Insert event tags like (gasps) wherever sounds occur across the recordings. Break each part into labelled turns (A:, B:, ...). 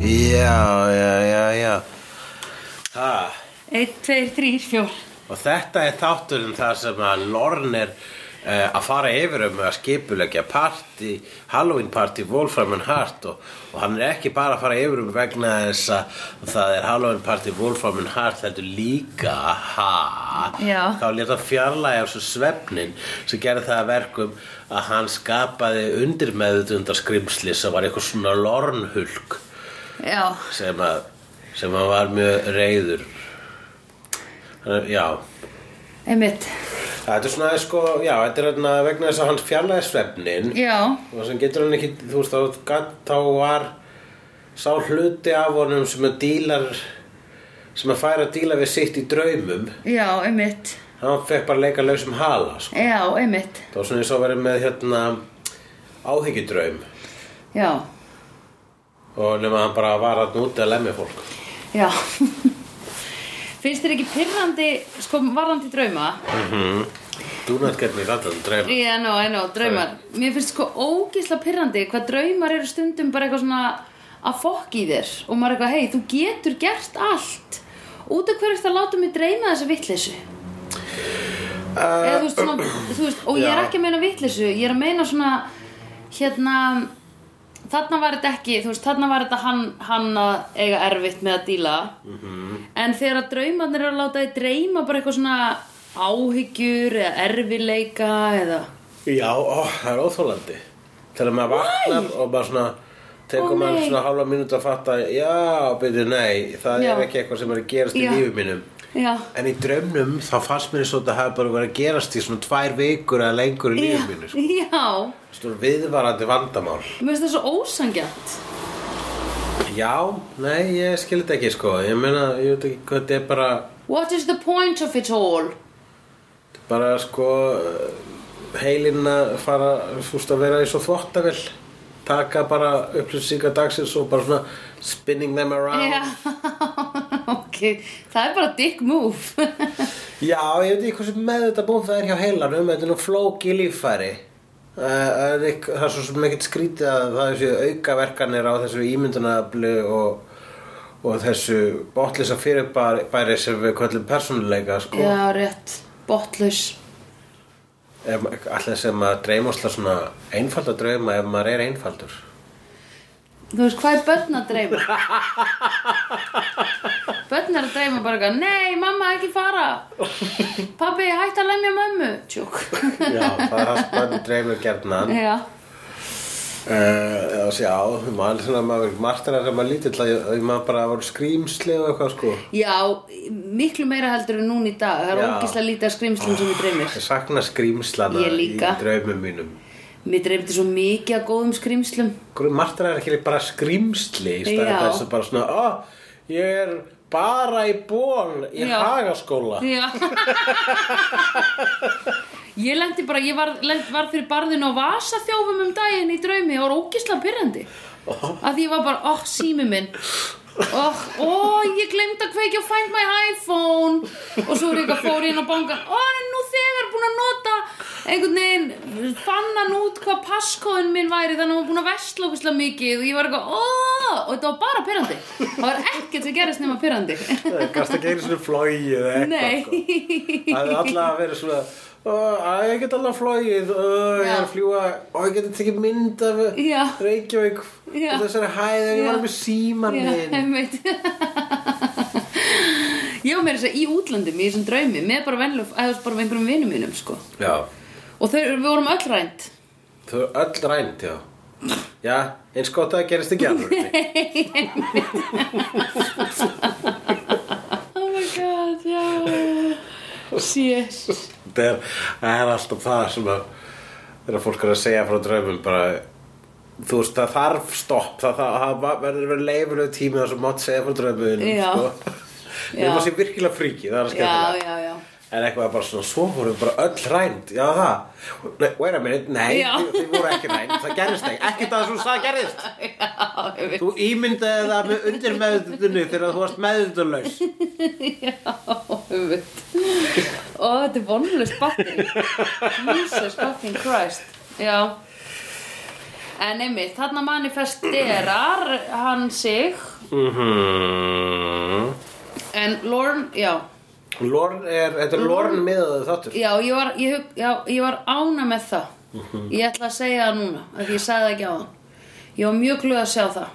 A: já, já, já, já. Ha,
B: 1, 2, 3, 4
A: og þetta er þátturinn þar sem að Lorne er uh, að fara yfir um að skipulegja party, Halloween party, Wolfram and Heart og, og hann er ekki bara að fara yfir um vegna þess að það er Halloween party, Wolfram and Heart heldur líka, ha,
B: Já.
A: þá leta fjarlægi á svo svefnin sem gerði það að verkum að hann skapaði undirmeðutundar skrimsli sem var eitthvað svona lornhulk
B: Já,
A: sem að sem að var mjög reyður Þannig, já
B: einmitt
A: þetta er svona sko, já, þetta er hérna vegna þess að hann fjarlæði svefnin
B: Já,
A: og sem getur hann ekki, þú veist, þá, gat, þá var sá hluti af honum sem að dílar sem að færa að díla við sitt í draumum
B: já, einmitt
A: hann fekk bara að leika lausum hala sko.
B: Já, einmitt
A: það var svona eins og verið með hérna áhyggjudraum
B: Já,
A: og nema hann bara var að núti að lemja fólk
B: já (laughs) Finnst þér ekki pyrrandi, sko, varðandi drauma?
A: Mhm. dúnat gerðin í rættan draum
B: Já, no, I know, draumar Mér finnst sko ógísla pyrrandi hvað draumar eru stundum bara eitthvað svona að fokk í þér og maður er eitthvað, hei, þú getur gert allt út af hverju ertu að láta mig dreyma þessa vitleysu eða þú veist svona, þú veist, og ég er
A: já.
B: ekki að meina vitleysu ég er að meina svona hérna þarna var þetta ekki, þú veist, þarna var þetta hann, hann að eiga erfitt með að díla
A: Mhm.
B: -hmm. en þegar að draumarnir eru að láta þið dreyma bara eitthvað svona áhyggjur eða erfileika eða
A: Já, ó, það er óþólandi Þegar maður vaknar og bara svona
B: Ó,
A: tekur maður
B: nei.
A: svona hálfa mínútu að fatta Já, byrju, nei, það
B: Já.
A: er ekki eitthvað sem er að gerast í
B: Já.
A: lífi mínum
B: já,
A: En í draumnum þá fannst mér svo að það hafi bara verið að gerast í svona tvær vikur eða lengur í lífi mínu sko.
B: já
A: Svona viðvarandi vandamál
B: mér finnst það svo ósangjant
A: Já, nei, ég skil þetta ekki sko Ég meina, ég veit ekki hvað þetta er bara
B: what is the point of it all
A: bara sko eh, heilinn að fara fúst að vera í svo þvottavill taka bara upplýsingar dagsins og bara svona spinning them around
B: já, (laughs) ok það er bara dick move
A: Já, ég veit ekki hversu með þetta búið það er hjá heilanum, þetta er nú flóki líffæri Eh, Það er ekk- það er svo sem ekkert skrítið að það þessu aukaverkanir á þessu ímyndunaflu og, og þessu botlisa fyrirbæri sem við kvöllum persónuleika sko.
B: já, rétt, botlaus
A: Ef- Alltaf sem að dreyma ósla svona einfalda drauma ef maður er einfaldur
B: Þú veist, hvað er börn að dreyma? börn er að dreyma bara eitthvað, nei, mamma, ekki fara. Pabbi, hætt að lemja mömmu. Tjók.
A: Já, það er það sem börn dreymir gerðnan uh,
B: Já,
A: Já, sjá, maður er svona maður margt er að maður lítill að ég- ég maður bara voru skrýmsli og eitthvað sko
B: já, miklu meira heldur en núna í dag. Það er
A: Já.
B: ógislega lítið af skrimslum sem við dreymir.
A: Ég sakna skrýmslana
B: Ég
A: í
B: líka.
A: draumum mínum
B: Mér dreymdi svo mikið af góðum skrimslum.
A: Margt er ekki bara skrýmsli í
B: Já.
A: stæðan þess að bara svona Ó, ég er bara í ból í
B: Já.
A: hagaskóla
B: Já. Ég lendi bara, ég var, lent, var fyrir barðinu og vasaþjófum um daginn í draumi og var ógislega pyrrandi. Að því ég var bara, oh, sími minn. Oh, oh, ég glemd að kveikja og find my iPhone. Og svo er eitthvað fór inn á bankan. Oh, hann er nú þegar búin að nota einhvern veginn, fann hann út hvað passkóðin minn væri þannig að hann var búin að vesla ógislega mikið og ég var eitthvað, oh, og þetta var bara pyrrandi. Það var ekkert sem gerist nema pyrrandi.
A: Það gasta ekki einu svona flóið eða eitthvað
B: Nei.
A: sko. Það hefði alltaf að vera svona "Ó, að ég get alveg flóið og ég
B: Já.
A: er að fljúa og ég get tekið mynd af
B: Já.
A: Reykjavík
B: Já.
A: og þessari hæð ef
B: Já.
A: ég var með síman
B: Já,
A: minn
B: einmitt Ég var meira þess að í útlandum í þessum draumi, með bara venlu eða bara með einhverjum vinum mínum sko
A: Já,
B: og þau, við vorum öll rænt
A: þau eru öll rænt, já Já, eins gott að það gerist ekki
B: (laughs)
A: alveg
B: Oh my god, já Sér
A: Það er- það er alltaf það sem að þegar fólk er að segja frá draumum bara þú veist, það þarf stopp það, það, það verður verið leifulegu tími þar sem mátt segja frá draumum
B: Já.
A: sko.
B: Já.
A: Nefnum að sé virkilega fríki, það er að skemmtilega
B: Já, já, já
A: En eitthvað bara svona, svo voru við bara öll rænd Já það, Nei, wait a minute, nei
B: Já.
A: þið, þið voru ekki rænd, það gerðist ekki Ekki það sem þú sagði gerðist
B: Já, einmitt.
A: Þú ímyndaði það með undir meðutinu Þegar þú varst meðutunlaus
B: einmitt. Og þetta er vonlust batting Jesus fucking Christ Já En einmitt, þarna manifesterar hann sig
A: Mhm.
B: En Lorne, já
A: Lorn er, þetta er Lorn
B: Mhm.
A: miðaðu þáttur
B: Já, ég var, ég, hug- já, ég var ána með það
A: Mhm.
B: Ég ætla að segja það núna af Því ég sagði það ekki á hann Ég var mjög glöð að sjá það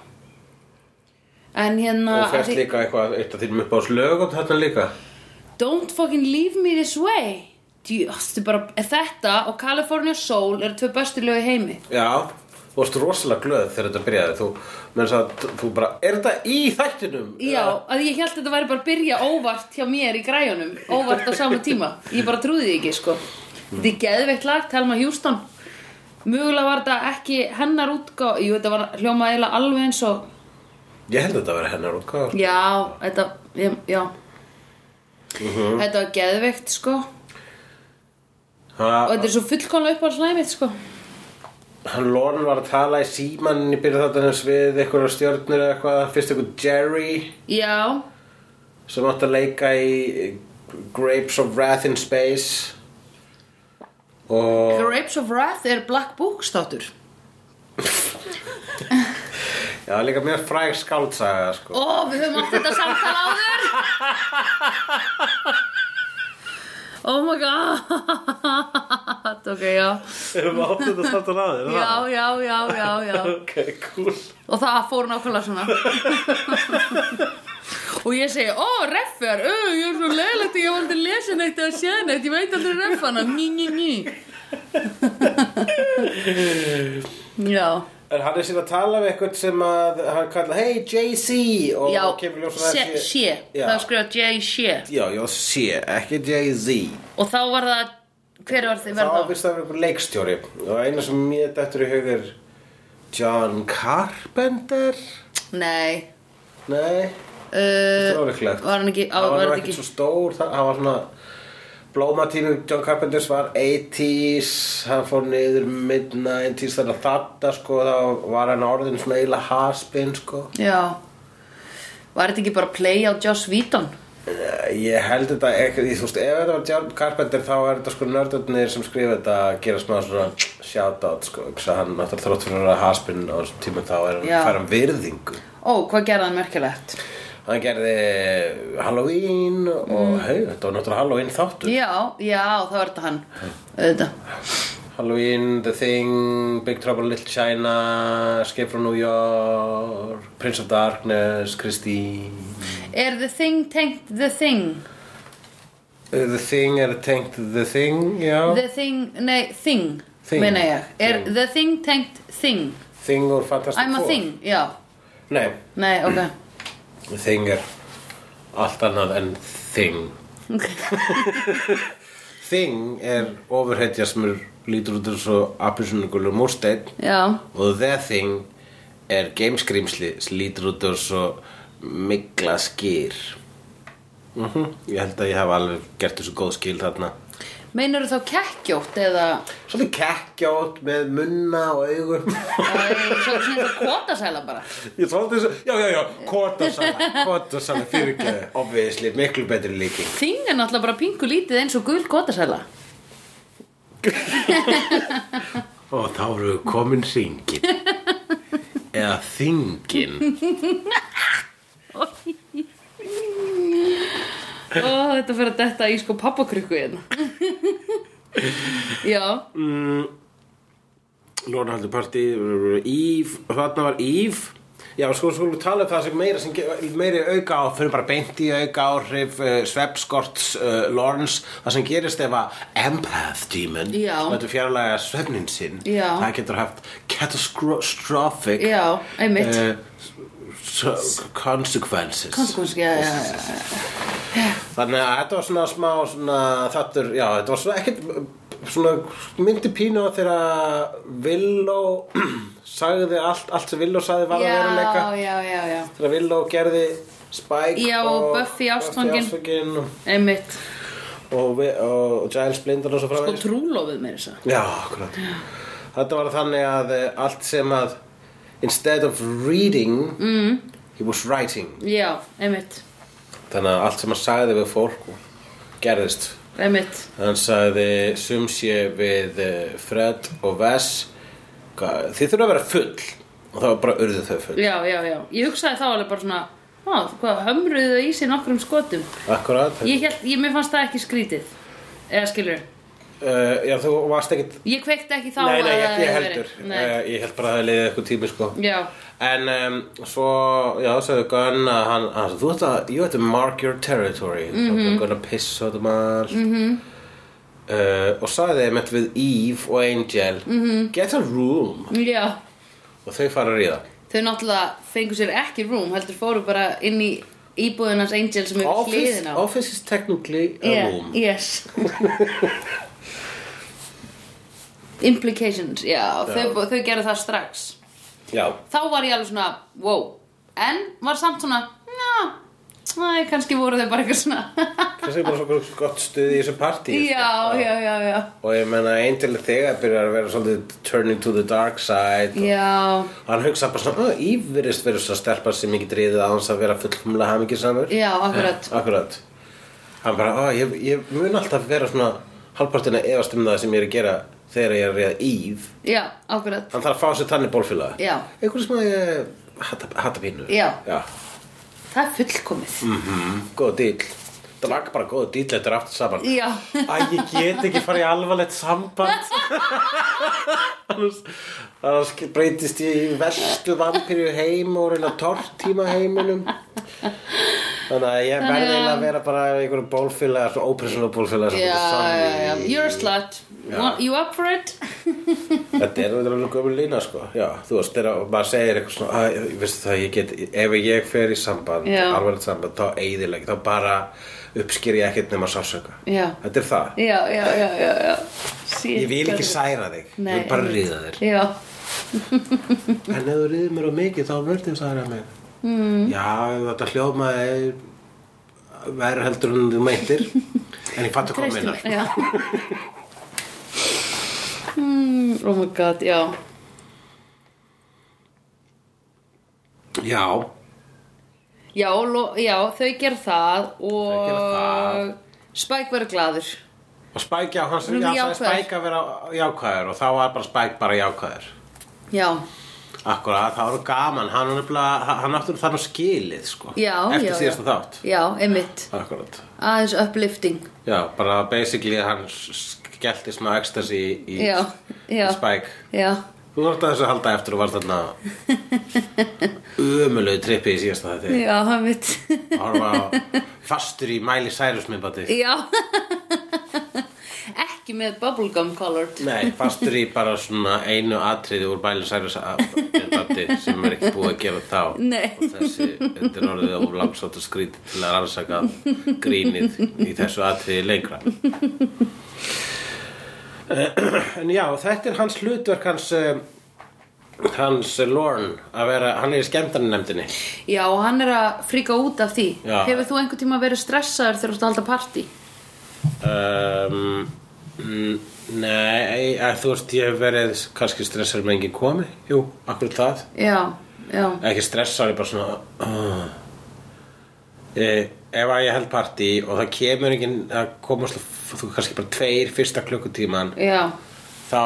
B: En hérna
A: og
B: af
A: fæst
B: því-
A: líka eitthvað, eitt af þínum upp á slögum þarna líka
B: Don't fucking leave me this way Djöfstu bara Þetta og California Soul eru tvö bestu lög í heimi
A: já, þú varst rosalega glöð þegar þetta byrjaði þú, menn að þú bara, er þetta í þættinum?
B: Já, að ég held að þetta væri bara að byrja óvart hjá mér í græjunum Óvart á sama tíma Ég bara trúði því ekki, sko Þetta er geðveikt lag, Telma Hjúston Mögulega var þetta ekki hennar útgá Jú, þetta var hljóma eiginlega alveg eins og
A: ég held að þetta að vera hennar útgáð
B: Já, þetta, ég, já Þetta var geðveikt, sko Og þetta er svo fullkomlega upp á slæmið, sko
A: hann Lorn var að tala í símann í byrja þáttanins við einhverja stjörnir eða eitthvað, fyrst einhver Jerry
B: Já,
A: sem átti að leika í Grapes of Wrath in Space og
B: Grapes of Wrath er Black Book státtur
A: já, líka mjög fræg skáldsaga sko. (laughs)
B: Ó, við höfum átt þetta samtala áður Oh my god (laughs) Ok, já
A: Erum við átt þetta samt að naður?
B: Já, já, já, já, já
A: Ok, cool
B: Og það fór nákvæmlega svona Og ég segi, ó, reffjar, ö, ég er svo leiðilegt að Ég var aldrei að lesa neitt eða séð neitt Ég veit aldrei reffana, ný, ný, ný (laughs) Já
A: En hann er síðan að tala við eitthvað sem að hann kalla Hey Jay-Z og
B: Já,
A: kemur ljósa
B: sé, sé,
A: Já.
B: það er skrifað J. Sé
A: Já, já, sé, ekki Jay-Z
B: Og þá var það, hver var þið
A: Það var
B: verða?
A: fyrst að vera einhver leikstjóri og eina sem mér dættur í hug er John Carpenter
B: Nei,
A: Nei,
B: uh,
A: það var líklegt
B: var hann ekki, á,
A: Hann
B: var
A: var
B: hann
A: ekkert
B: ekki
A: svo stór, það hann var svona Blómatími John Carpenters var 80s, hann fór niður mid-90s þannig að þetta sko þá var hann orðin svona eiginlega haspin sko
B: Já Var þetta ekki bara play á Joss Whedon?
A: Eh, Ég held þetta ekki, þú veist, ef þetta var John Carpenter þá er þetta sko nördunir sem skrifa þetta að gera smá svona shoutout sko, hugsa hann náttúrulega þrótt fyrir að vera haspinn á þessum tímum þá er hann
B: Já.
A: að fara um virðingu.
B: Ó, hvað gerði hann merkilegt?
A: Hann gerði Halloween og
B: Mm.
A: hei, þetta var náttúrulega Halloween þáttur.
B: Já, já, það var þetta hann Auðvitað
A: Halloween, The Thing, Big Trouble in Little China, Escape from New York, Prince of Darkness, Christine.
B: Er the thing tengt the thing?
A: Eh, The Thing er tengt The Thing, já.
B: The thing, nei, thing,
A: Thing.
B: meina ég Er
A: Thing.
B: the thing tengt thing?
A: Thing úr Fantastic
B: I'm a thing, já
A: Nei.
B: Nei, ok
A: Þing er allt annað en þing (laughs) Þing er ofurhetja sem er lítur út eins og appisunugulur múrsteinn
B: Já,
A: og the thing er gameskrýmsli sem lítur út eins og mikla skýr mm Ég held að ég hef alveg gert þessu góð skil þarna
B: meinur þá kekkjótt eða
A: Svolítið kekkjátt með munna og (laughs) augu
B: Það er svo sem þetta kvotasæla bara
A: Ég þóldi þessu, já, já, já, kotasala Kotasala fyrirgeðu, obviðisli, miklu betri líking
B: Þing er náttúrulega bara pingu lítið eins og gul kvotasæla
A: Og þá eru við komin
B: (laughs)
A: syngin Eða þingin
B: Ó, þetta fyrir að detta í sko pappakrukku hérna Já,
A: Lorna haldur partí Íf, þarna var Íf Já, sko, sko, við tala um það sem meira sem ge- meiri auka á, fyrir bara beint í auka áhrif uh, svefnskorts uh, Lorns, það sem gerist ef að empath demon,
B: Já.
A: sem þetta fjarlæga svefnin sinn,
B: Já.
A: það getur haft catastrophic
B: já, einmitt uh,
A: eh, so- consequences
B: Konsekvenski, já, já, já
A: Þannig að þetta var svona smá svona, þáttur, já, þetta var svona ekkert svona myndi pínu á þegar Villó (clears throat) sagði allt, allt sem Villó sagði var að
B: Já,
A: veruleika
B: já, já, já
A: þegar Villó gerði Spike
B: Já, og Buffy ástfangin.
A: ástfangin og,
B: Einmitt,
A: og, Vi- og, og Giles Blindar og svo
B: sko
A: framvegis
B: trúlofið meira þess að
A: Já, akkurat Þetta var þannig að eh, allt sem að instead of reading mm. he was writing
B: Já, einmitt,
A: þannig að allt sem hann sagði við fólk gerðist
B: einmitt
A: Hann sagði sum sé við eh, Fred og Vess hvað- þið þurfa að vera full og þá bara urðu þau full
B: Já, já, já. Ég hugsaði þá alveg bara svona, á, hvað, hömruðu þau í sig nokkrum skotum.
A: Akkurat
B: Ég held, ég, mér fannst það ekki skrítið. Eða skilur,
A: uh, Já, þú varst ekkit
B: ég kveikti ekki þá
A: Nei,
B: að
A: nei,
B: það
A: ekki
B: hefði
A: ég
B: verið.
A: heldur
B: Nei.
A: uh, Ég held bara að það leiði eitthvað tími sko
B: Já,
A: En um, svo, já, sagði Gunn að hann, hann þú ert að, you have to mark your territory mm
B: Mhm.
A: -hmm. Gunn að pissa og það maður mm -hmm. Eh, og sagði þeim eitthvað við Eve og Angel mm
B: Mhm.
A: -hmm. Get a room
B: já.
A: Og þau fara að ríða
B: Þau náttúrulega fengu sér ekki room, heldur fóru bara inn í íbúðunars Angel sem er við
A: Office,
B: hliðin á.
A: office is technically a
B: Yeah,
A: room (laughs)
B: Yes Implications, já, Þau, þau gerðu það strax
A: Já,
B: Þá var ég alveg svona, wow En var samt svona, já Næ, kannski voru þau bara eitthvað svona (laughs)
A: kannski bara svo gott stuð í þessu partí sko.
B: Já, já, já, já
A: Og ég menna Angel er þegar byrjar að vera svolítið turning to the dark side og
B: Já,
A: Hann hugsa bara svona, "Ó, Eve virðist verið svo stelpa sem ég get riðið að hans að vera fullkomlega hamingisamur
B: já, akkurat
A: Eh, Akkurat Hann bara, ó, ég, ég mun alltaf vera svona halvpartina efast um það sem ég er að gera þegar ég er að riða Eve
B: Já, akkurat
A: Hann þarf að fá sér þannig bólfélaga
B: Já.
A: Einhverju sem að ég hata, hata pínu
B: Já.
A: Já.
B: Það er fullkomið
A: Mhm. Góð dýl Það lag bara góð dýl eftir aftur saman
B: Já,
A: Æ, ég get ekki farið í alvarlegt samband Annars annars breytist ég í verstu vampíru heim og reyna tortíma heiminum Þannig að ég verði
B: Þannig að-
A: eiginlega að vera bara einhverjum bólfélaga, svo ópersónlega bólfélaga
B: já, já You're a slut Want- You up for it?
A: Þetta er þetta alveg gömur lína sko Já, þú veist, þegar maður segir eitthvað svona "Æ, Veistu það, ég get, ef ég fer í samband
B: Já.
A: alvarlegt samband, þá eyðileg þá bara uppsker ég ekkert nema sásöka
B: Já.
A: Þetta er það
B: Já, já, já, já, já Shit,
A: Ég vil ekki
B: hvað-
A: særa þig,
B: Nei,
A: ég vil bara
B: einmitt.
A: ríða
B: (laughs)
A: þér
B: Já,
A: En ef þú riðir mér á mikið þá verður það að mig mm. Já, þetta hljóma er verður heldur en þú meintir En ég fatt að koma
B: treystu
A: minnar
B: mér já. mm, Oh my god, já
A: Já,
B: Já, lo, já þau ger það og
A: Þau gera það.
B: Spike verður glaður
A: og Spike, já, hann
B: Hún
A: sagði
B: er
A: já, sagði
B: jákvæður.
A: Spike að vera jákvæður og þá var bara Spike bara jákvæður
B: Já,
A: Akkurat, það var gaman, hann, var nefnilega, hann átti þannig skilið sko
B: já,
A: Eftir
B: já,
A: síðasta
B: já.
A: þátt
B: Já, einmitt,
A: Akkurat
B: aðeins uplifting
A: Já, bara basically hann skellti smá ekstasi í, í
B: Já, já.
A: Spike
B: Já,
A: Þú þarft að þessu að halda eftir og varst þarna ömulegu trippi í síðasta þetta
B: já, einmitt (laughs)
A: að horfa á- fastur í Miley Cyrus myndbandi
B: Já (laughs) Ekki með bubblegum colored
A: Nei, fastur í bara svona einu atriði úr Miley Cyrus a- myndbandi sem er ekki búið að gefa þá
B: Nei.
A: og þessi, þetta er orðið of langsátt og skrýt til að rannsaka grínið í þessu atriði lengra En já, þetta er hans hlutverk hans eh, hans eh, Lorne að vera, hann er í skemmtarnefndinni
B: Já, og hann er að fríka út af því
A: Já.
B: Hefur þú einhvern tíma verið stressaður þegar þú ert að halda partí?
A: um, mm, Nei, að þú veist ég hef verið kannski stressar með enginn komi Jú, akkur það
B: Já, já
A: Ekki stressar, ég bara svona uh. e, Ef að ég held partí og það kemur enginn að komast þú kannski bara tveir fyrsta klukkutíman
B: Já,
A: þá,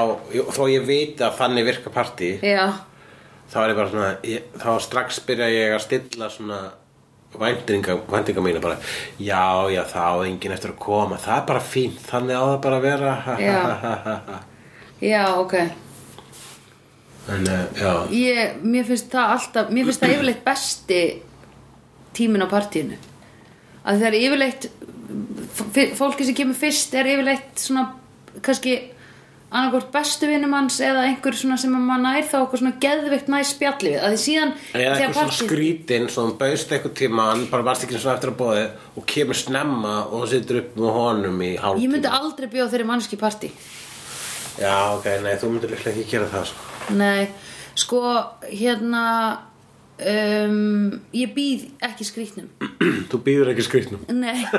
A: þó ég veit að þannig virka partí
B: já,
A: þá er ég bara svona ég, þá strax byrja ég að stilla svona væntinga, væntinga mína bara já, já, þá er enginn eftir að koma það er bara fínt, þannig á það bara að vera
B: Já. já, ok
A: en uh, já
B: ég, Mér finnst það alltaf Mér finnst það yfirleitt besti tíminn á partíinu að þegar yfirleitt f- fólki sem kemur fyrst er yfirleitt svona kannski annarkvort bestu vinum hans eða einhver svona sem að maður nær þá okkur svona geðveikt næs spjalli við að því síðan
A: eða
B: þegar
A: eitthvað svona
B: partí-
A: skrítin svo hann baust eitthvað tíma, hann bara varst ekki svo eftir að bóði og kemur snemma og situr upp með honum í hálf
B: Ég myndi aldrei bjóða þeirri mannski partí
A: já, ok, nei, þú myndir líklega ekki gera það sko. (clears throat)
B: Nei, sko, hérna um, ég býð ekki skrýtnum
A: þú býður ekki skrítnum
B: Nei (laughs)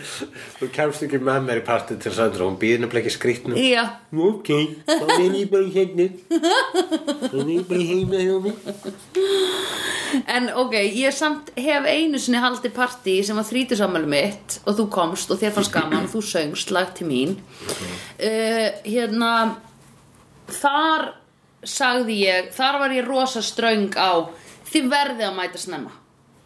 A: þú kemst ekki með mér í partí til Sandra hún býður nefnilega ekki skrítnum
B: Já,
A: Ok, þá er ég bara hérna Þá er ég bara heima hjá mig
B: en ok, ég samt hef einu sinni haldið partí sem var þrítusamæli mitt og þú komst og þér fannst gaman og þú söngst lag til mín uh, Eh, Hérna, þar sagði ég, þar var ég rosa ströng á þið verðið að mæta snemma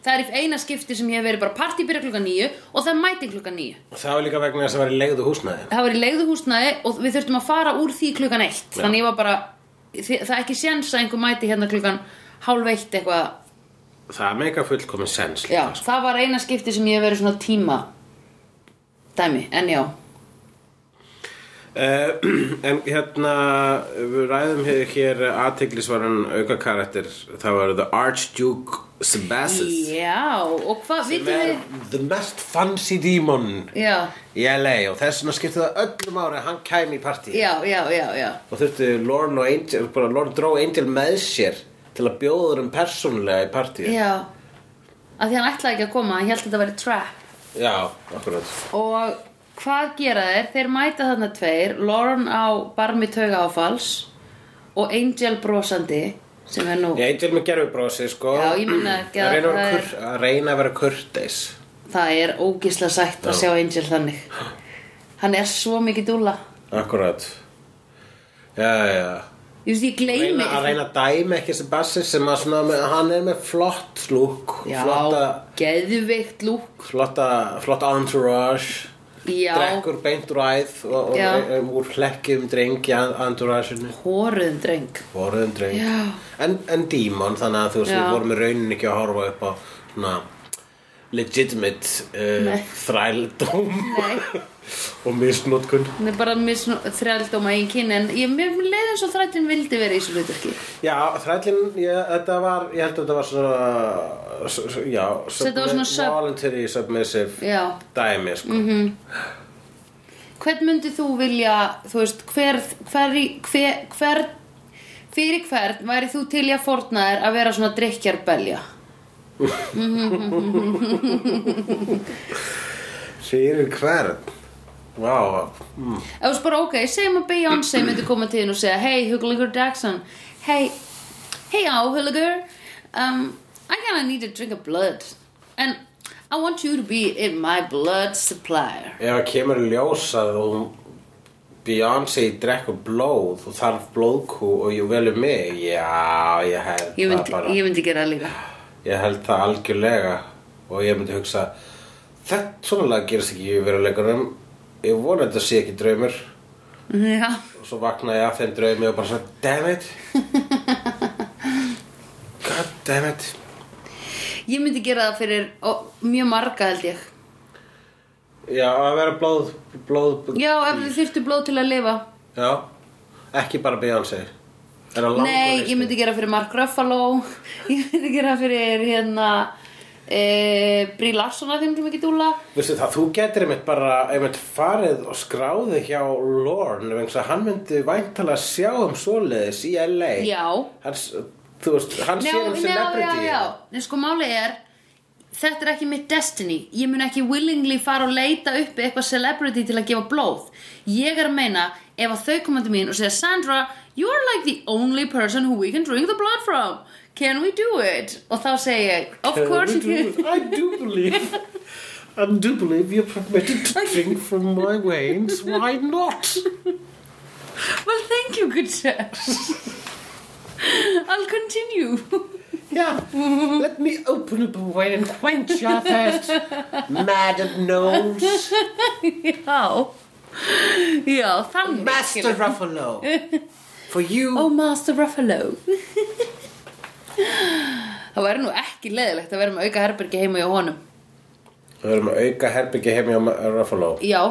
B: það er eina skipti sem ég hef verið bara partí byrja klukka nýju og það mæti klukka nýju
A: Það var líka vegna þess að vera í leigðu húsnæði.
B: það var í leigðuhúsnaði og við þurftum að fara úr því klukkan eitt þannig ég var bara, þi- það er ekki séns að einhver mæti hérna klukkan hálf eitt eitthvað
A: Það meika fullkomin sens líka.
B: já, það var eina skipti sem ég hef verið svona tíma dæmi, en já
A: Uh, (clears throat) en hérna, við ræðum hér, hér aðteglisvaran auka karakter, það var The Archduke Sebastus.
B: já, og hvað,
A: sem
B: vitið
A: er
B: þið
A: The Mest Fancy Demon
B: já,
A: í LA og þess vegna skipti það öllum ári að hann kæmi í partí.
B: já, já, já, já
A: Og þurfti Lorne og Angel, bara Lorne dró Angel með sér til að bjóða þeim persónulega í partí.
B: já að því hann ætlaði ekki að koma, hann held að þetta væri trap
A: Já, akkurat.
B: og hvað gera þeir? Þeir mæta þarna tveir, Lauren á barmi tauga áfalls og Angel brosandi sem er nú,
A: Ég Angel með gerfubrósi, sko.
B: Já, ég meina ekki að
A: að reyna að
B: það
A: vera
B: er-
A: kur- að reyna að vera kurteis.
B: það er ógisla sætt að
A: Já.
B: sjá Angel þannig hann er svo mikið dúlla
A: Akkurat. Já, já, já.
B: ég veist ég gleymi
A: reyna, að reyna að dæmi ekki Sebastian sem að svona, með- hann er með flott lúk
B: já,
A: flotta,
B: geðveikt lúk
A: flotta, flotta entourage
B: já,
A: drekkur beint úr æð og, og
B: Já.
A: e- e- úr hlekkjum dreng í en- entourageinu
B: hóruðum dreng
A: voruðum dreng
B: Já.
A: en, en dímon þannig að þú veist
B: Já.
A: við vorum í rauninni ekki að horfa upp á svona legitimate uh,
B: Nei.
A: þrældóm
B: nei,
A: og misnótkun
B: hann er bara með svona þrældóma einn kyn en ég mér leið eins og þrættin vildi vera í þessu hlutverki
A: Já, þrællin, ég, þetta var, ég held að þetta var svona, s- s- já,
B: Þetta var svona sub-
A: voluntary submissive
B: já,
A: dæmi, sko. Mm -hmm.
B: hvern myndið þú vilja þú veist, hver, hver, í- hver, hver fyrir hvern væri þú til í að forna þér að vera svona drikkjarbelja
A: Fyrir hvern? Vá, mm.
B: eða þú veist bara ok, segjum að Beyoncé myndi koma til þín og segja hey Hugleikur Jackson hey, hey á Hugleikur um, I kinda need to drink a blood and I want you to be in my blood supplier
A: ef að kemur í ljós að þú Beyoncé drekkur blóð og þarf blóðkú og ég velur mig, já, ég held
B: ég
A: það
B: myndi,
A: bara,
B: ég
A: ég...
B: myndi gera það líka
A: held það algjörlega og ég myndi hugsa, þetta svona lag gerist ekki í veruleikunum, ég vona þetta sé ekki draumur.
B: já,
A: og svo vaknaði ég af þeim draumi og bara svona damn
B: (laughs)
A: it god damn it
B: ég myndi gera það fyrir ó, mjög marga held ég
A: já að vera blóð, blóð
B: já, ef þið þyrftu blóð til að lifa
A: já ekki bara Beyoncé er það langur
B: Nei,
A: listi?
B: ég myndi gera fyrir Mark Ruffalo Ég myndi gera fyrir hérna e, Brí Larsson að þeim sem ekki dúla
A: Vistu það, þú getur einmitt bara einmitt farið og skráði hjá Lorne vegna þess að hann myndi væntalega sjá um svoleiðis í LA
B: Já
A: Hans, þú veist, hann sér um celebrity
B: já, já Nei, sko máli er Þetta er ekki mitt destiny Ég mun ekki willingly fara og leita uppi eitthvað celebrity til að gefa blóð Ég er að meina ef að þau koma til mín og segja Sandra, you're like the only person who we can drink the blood from Can we do it? Og þá segi ég, of course you can
A: I do believe I do believe you're permitted to drink from my veins Why not?
B: (laughs) Well, thank you, good
A: (laughs)
B: sir. I'll continue. (laughs)
A: Yeah, let me open up a vein and quench your thirst Madam Knowles
B: Já. Já, þannig.
A: Master Ruffalo For you
B: (laughs) Oh, Master Ruffalo. (laughs) Það væri nú ekki leðilegt að vera með auka herbergi heima hjá honum.
A: Við erum að auka herbyggja heim hjá Ruffalo
B: Já,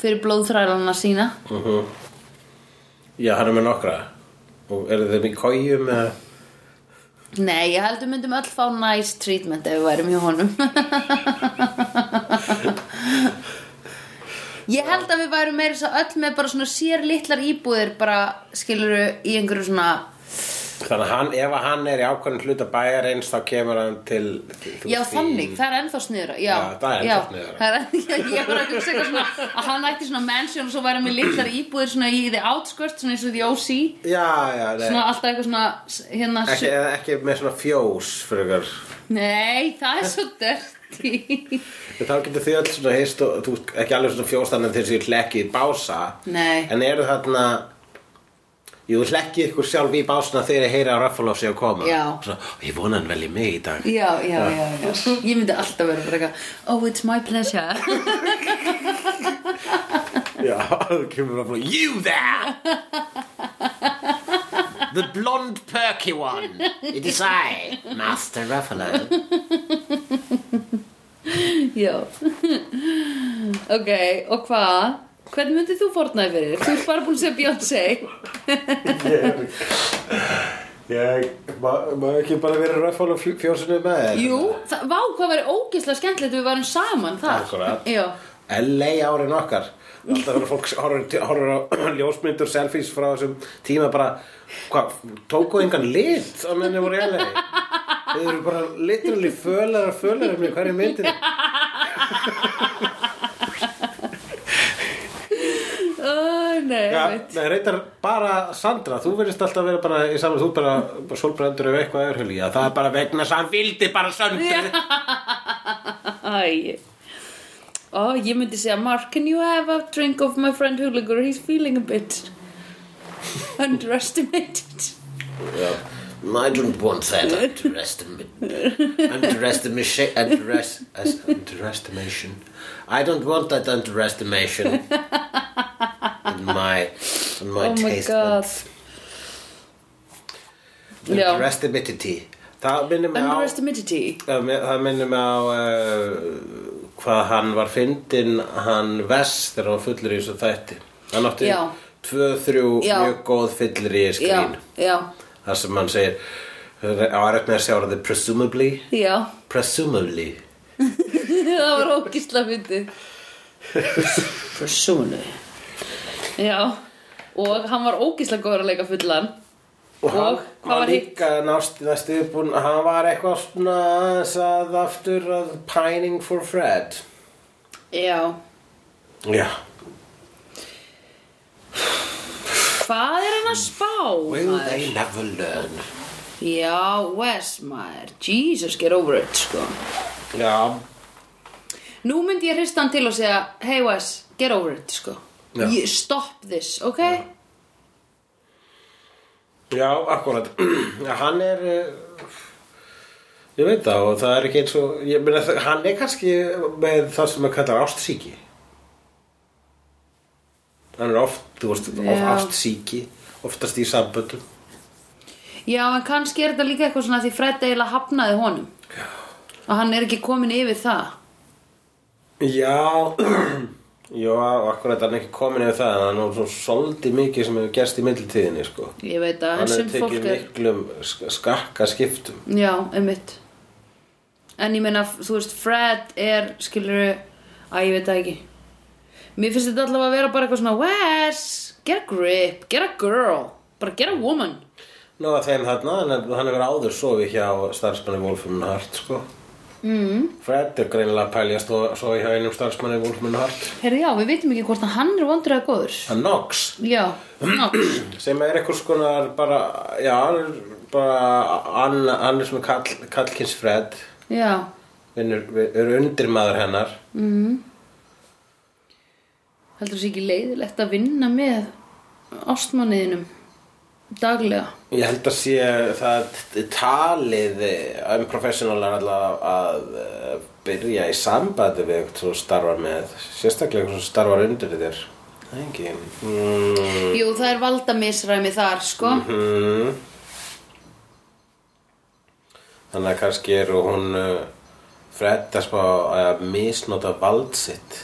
B: fyrir blóðþrælana sína.
A: Já, hann er með nokkra Og eru þeim í kójum eða
B: Nei, ég heldur myndum öll fá nice treatment ef við værum hjá honum. (laughs) Ég held að við værum meira þess að öll með bara svona sér litlar íbúðir bara skiluru í einhverju svona
A: Þannig að hann, ef að hann er í ákveðin hluta bæjar eins þá kemur hann til þú
B: Já,
A: veist, í-
B: þannig, það er ennþá sniðra Já,
A: Já, það er
B: já,
A: ennþá sniðra.
B: það er ennþá (laughs) sniðra Ég var að hugsa eitthvað svona að hann ætti svona mansion og svo væri með litlar íbúðir svona í the outskirts svona eins og the OC
A: Já, já, nei
B: svona alltaf eitthvað svona s- hérna
A: ekki,
B: su-
A: eða ekki með svona fjós fyrir
B: Nei, það er svo dirty
A: þá getur þið öll svona heist og þú veist, ekki alveg svona fjós þannig að þeir séu hlekki í bása
B: Nei.
A: en eru þarna Jú, hlekkið ykkur sjálf í básna þegar ég heyri að Raffalof sé að koma
B: Já.
A: Svo, Ég vona hann vel í mig í dag
B: Já, já, já, já. Ég myndi alltaf vera bara eitthvað Oh, it's my pleasure (laughs)
A: Já, það kemur að flóða You there! The blonde perky one It is I, Master Ruffalo
B: Já Ok, og hvað? Hvernig myndið þú fornaði fyrir? Þú ert bara búin að segja Beyoncé
A: Ég, maður ma ekki bara verið Ruffalo fjósinu með þér
B: Jú, það, vá, hvað væri ógeðslega skemmtilegt ef við varum saman þar
A: Akkúrat.
B: Já,
A: LA árin okkar Alltaf verður fólk horfir horfir á (clears throat) ljósmyndur, selfies frá þessum tíma bara, hvað, tóku engan lit á menni voru í LA Þau eru bara literally fölar að fölar með hverju myndinni
B: Ó, nei,
A: Já,
B: veit
A: nei, reyndar bara Sandra, þú verðist alltaf vera bara í saman, þú bara, bara solbrendur ef eitthvað er hulja, það er bara vegna þess að hann vildi bara Sandra.
B: Æ Ó, ég myndi segja Mark, can you have a drink of my friend Huligur? He's feeling a bit underestimated
A: Yeah. I don't want that underestimate, underestimation, underest, underestimation. I don't want that underestimation in my, in my
B: Oh my
A: taste.
B: god Já.
A: Underestimatity. Það minnir mig á...
B: Underestimated
A: Það mi- það minnir mig á uh, hvað hann var fyndinn hann vest þegar hann var fullur í þessu þætti hann átti
B: Já.
A: tvö, þrjú
B: Já.
A: mjög góð fullur í
B: Já,
A: skrín
B: já,
A: þar sem hann segir á aðrætt með að sjá orðið presumably
B: já (laughs)
A: presumably
B: Það var ógisla fyndið Personu Já Og hann var ógisla góður að leika fullan Og,
A: hann,
B: hvað
A: hann
B: var hitt?
A: líka nást, næstu uppbúin hann var eitthvað svona aðeins að aftur að pining for Fred
B: Já
A: já
B: Hvað er hann að spá?
A: will
B: maður?
A: they never learn
B: Já, Wes, maður, Jesus, get over it, sko.
A: já
B: Nú myndi ég hrista hann til og segja, hey Wes, get over it, sko.
A: Já.
B: Ég- Stop this, ok?
A: Já, akkurat (clears throat) Já, Hann er eh, Ég veit það og það er ekki eins og ég meina, það- Hann er kannski með það sem maður kallar ástsíki Hann er oft, þú veist, oft
B: Já.
A: ástsíki Oftast í samböndum
B: Já, en kannski er þetta líka eitthvað svona því Fred eiginlega hafnaði honum. Já. Og hann er ekki komin yfir það.
A: Já (clears throat) Já, akkurat hann er ekki komin yfir það en Hann er svona svolítið mikið sem hefur gerst í myndiltíðinni sko.
B: Ég veit að,
A: Hann
B: en
A: er
B: sem fólk
A: tekið
B: er...
A: miklum sk- skakka skiptum
B: Já, einmitt. En ég meina, þú veist, Fred er, skilur, að ég veit það ekki. Mér finnst þetta allavega að vera bara eitthvað svona, Wes, get a grip, get a girl, bara get a woman.
A: Ná að þeim þarna, hann er- hann hefur áður sofið hjá starfsmanni Wolfman Hart, sko. Mm. Fred er greinilega að pæljast og sofið hjá einum starfsmanni Wolfman Hart.
B: Herri, já, við veitum ekki hvort að hann er vondur eða góður.
A: Hann Knox,
B: Já, (clears throat) ná,
A: sem er einhvers konar bara, já, hann er bara, hann, hann er svona kall, kallkins Fred,
B: já,
A: vinnur, er undirmaður hennar.
B: heldur þessi ekki leiðilegt að vinna með ástmanniðinum daglega.
A: Ég held að sé það t- talið um professionalar allavega að eh, byrja í sambandi við eitthvað sem þú starfar með, sérstaklega eitthvað sem þú starfar undir þér. Það er ekki... Mm.
B: Jú, það er valdamisræmi þar, sko.
A: Mm. Þannig að kannski eru hún uh, Fred að spá að misnota vald sitt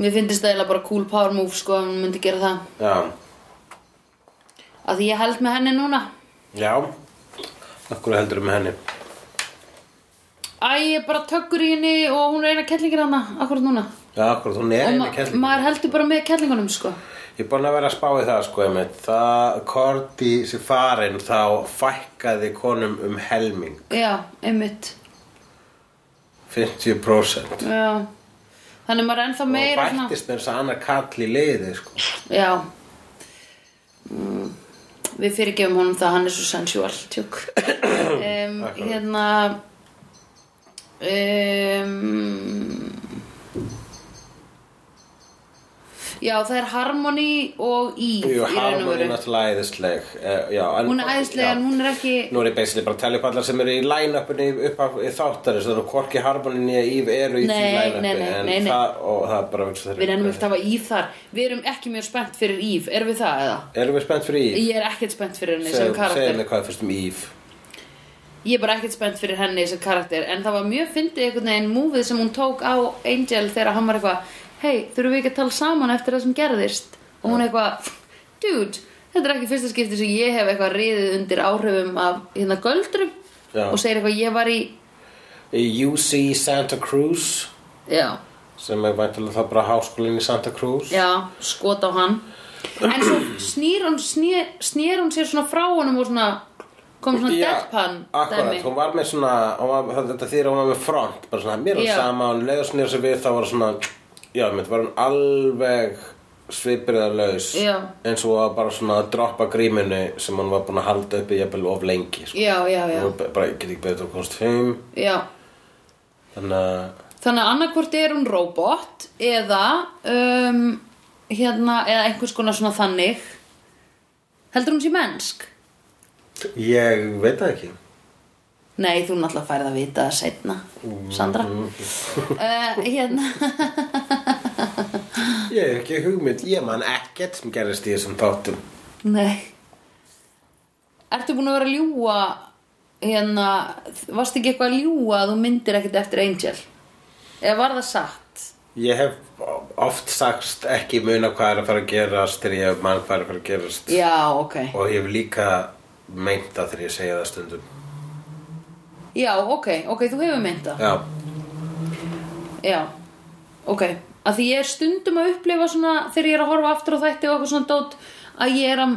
B: Mér finnst það eiginlega bara cool power move, sko, ef hann myndi gera það.
A: Já,
B: Að því ég held með henni núna
A: já Akkur heldur með henni
B: Æ, ég er bara tökkur í henni og hún er eina kettlingir hana akkurat núna
A: Já, akkur, hún er
B: Og
A: einu
B: ma
A: kæsling
B: maður heldur bara með kettlingunum sko
A: Ég er búin að vera að spá í það sko einmitt. Það, Korti sér farin þá fækkaði konum um helming
B: Já, einmitt
A: 50%
B: Já. Þannig maður er ennþá
A: og
B: meira svona-
A: bættist með þess að annar kall í liði sko.
B: Já mm. Við fyrirgefum honum það hann er svo sensual tjúk
A: (coughs)
B: um, Hérna um, Já, það er Harmony og Eve
A: Jú,
B: í raun og
A: Harmony
B: veru.
A: er náttúrulega æðisleg uh, já, en,
B: Hún er æðislega,
A: já.
B: en hún er ekki
A: Nú er ég basically bara að telja upp allar sem eru í line-upinu upp af þáttari Svo þannig að hvorki Harmony nýja Eve eru í því
B: Nei,
A: line-upi
B: nei, nei,
A: en
B: nei, nei.
A: Það, og það er bara hugsa
B: Við rennum ekkert að hafa Eve þar Við erum ekki mjög spennt fyrir Eve, erum við það eða?
A: Erum við spennt fyrir Eve?
B: Ég er ekkert spennt fyrir henni sem
A: Segðu segðu
B: karakter
A: mér hvað þú fyrst um Eve
B: Ég er bara ekkert spennt fyrir henni sem karakter En það var mjög fyndið einhvern veginn múfið sem hún tók á Angel þegar hann var eitthvað Hei, þurfum við ekki að tala saman eftir það sem gerðist Og hún eitthvað Dude, þetta er ekki fyrsta skipti sem ég hef eitthvað riðið undir áhrifum af hérna göldrum
A: Já.
B: Og segir eitthvað, ég var í
A: Í UC Santa Cruz
B: Já,
A: Sem er væntalega það bara háskólinn í Santa Cruz
B: já, skot á hann En svo snýr hún, snýr, snýr hún sér svona frá honum og svona kom svona
A: Já,
B: deadpan
A: akkurat, hún var með svona hún var, það- þetta þýðir að hún var með front bara svona, mér er
B: Já.
A: yeah. sama, hún leiður snýr sér við þá var svona, já, mitt var hún alveg svipirðarlaus
B: Já.
A: eins og var bara svona að droppa gríminu sem hún var búin að halda uppi jafnvel of lengi, sko
B: Já, já, já,
A: hún bara, ég get ekki betur að komast heim
B: já
A: þannig að,
B: Þannig að annarkvort er hún robot eða um, hérna, eða einhvers konar svona þannig Heldur hún sé mennsk?
A: ég veit það ekki
B: Nei, þú náttúrulega færð að vita það setna, Sandra
A: Mm,
B: uh, Hérna,
A: ég hef ekki hugmynd, ég man ekkert sem gerist í þessum þáttum
B: nei Ertu búin að vera að ljúga hérna, varstu ekki eitthvað að ljúga að þú myndir ekkert eftir Angel? Eða var það satt?
A: ég hef oft sagt ekki muna hvað er að fara að gerast þegar ég man hvað er að fara að gerast
B: Já, ok.
A: Og ég hef líka meint það þegar ég segja það stundum.
B: Já, ok, ok, þú hefur meint það.
A: Já,
B: Já, ok. Að því ég er stundum að upplifa svona þegar ég er að horfa aftur á þætti og eitthvað svona dót að ég er að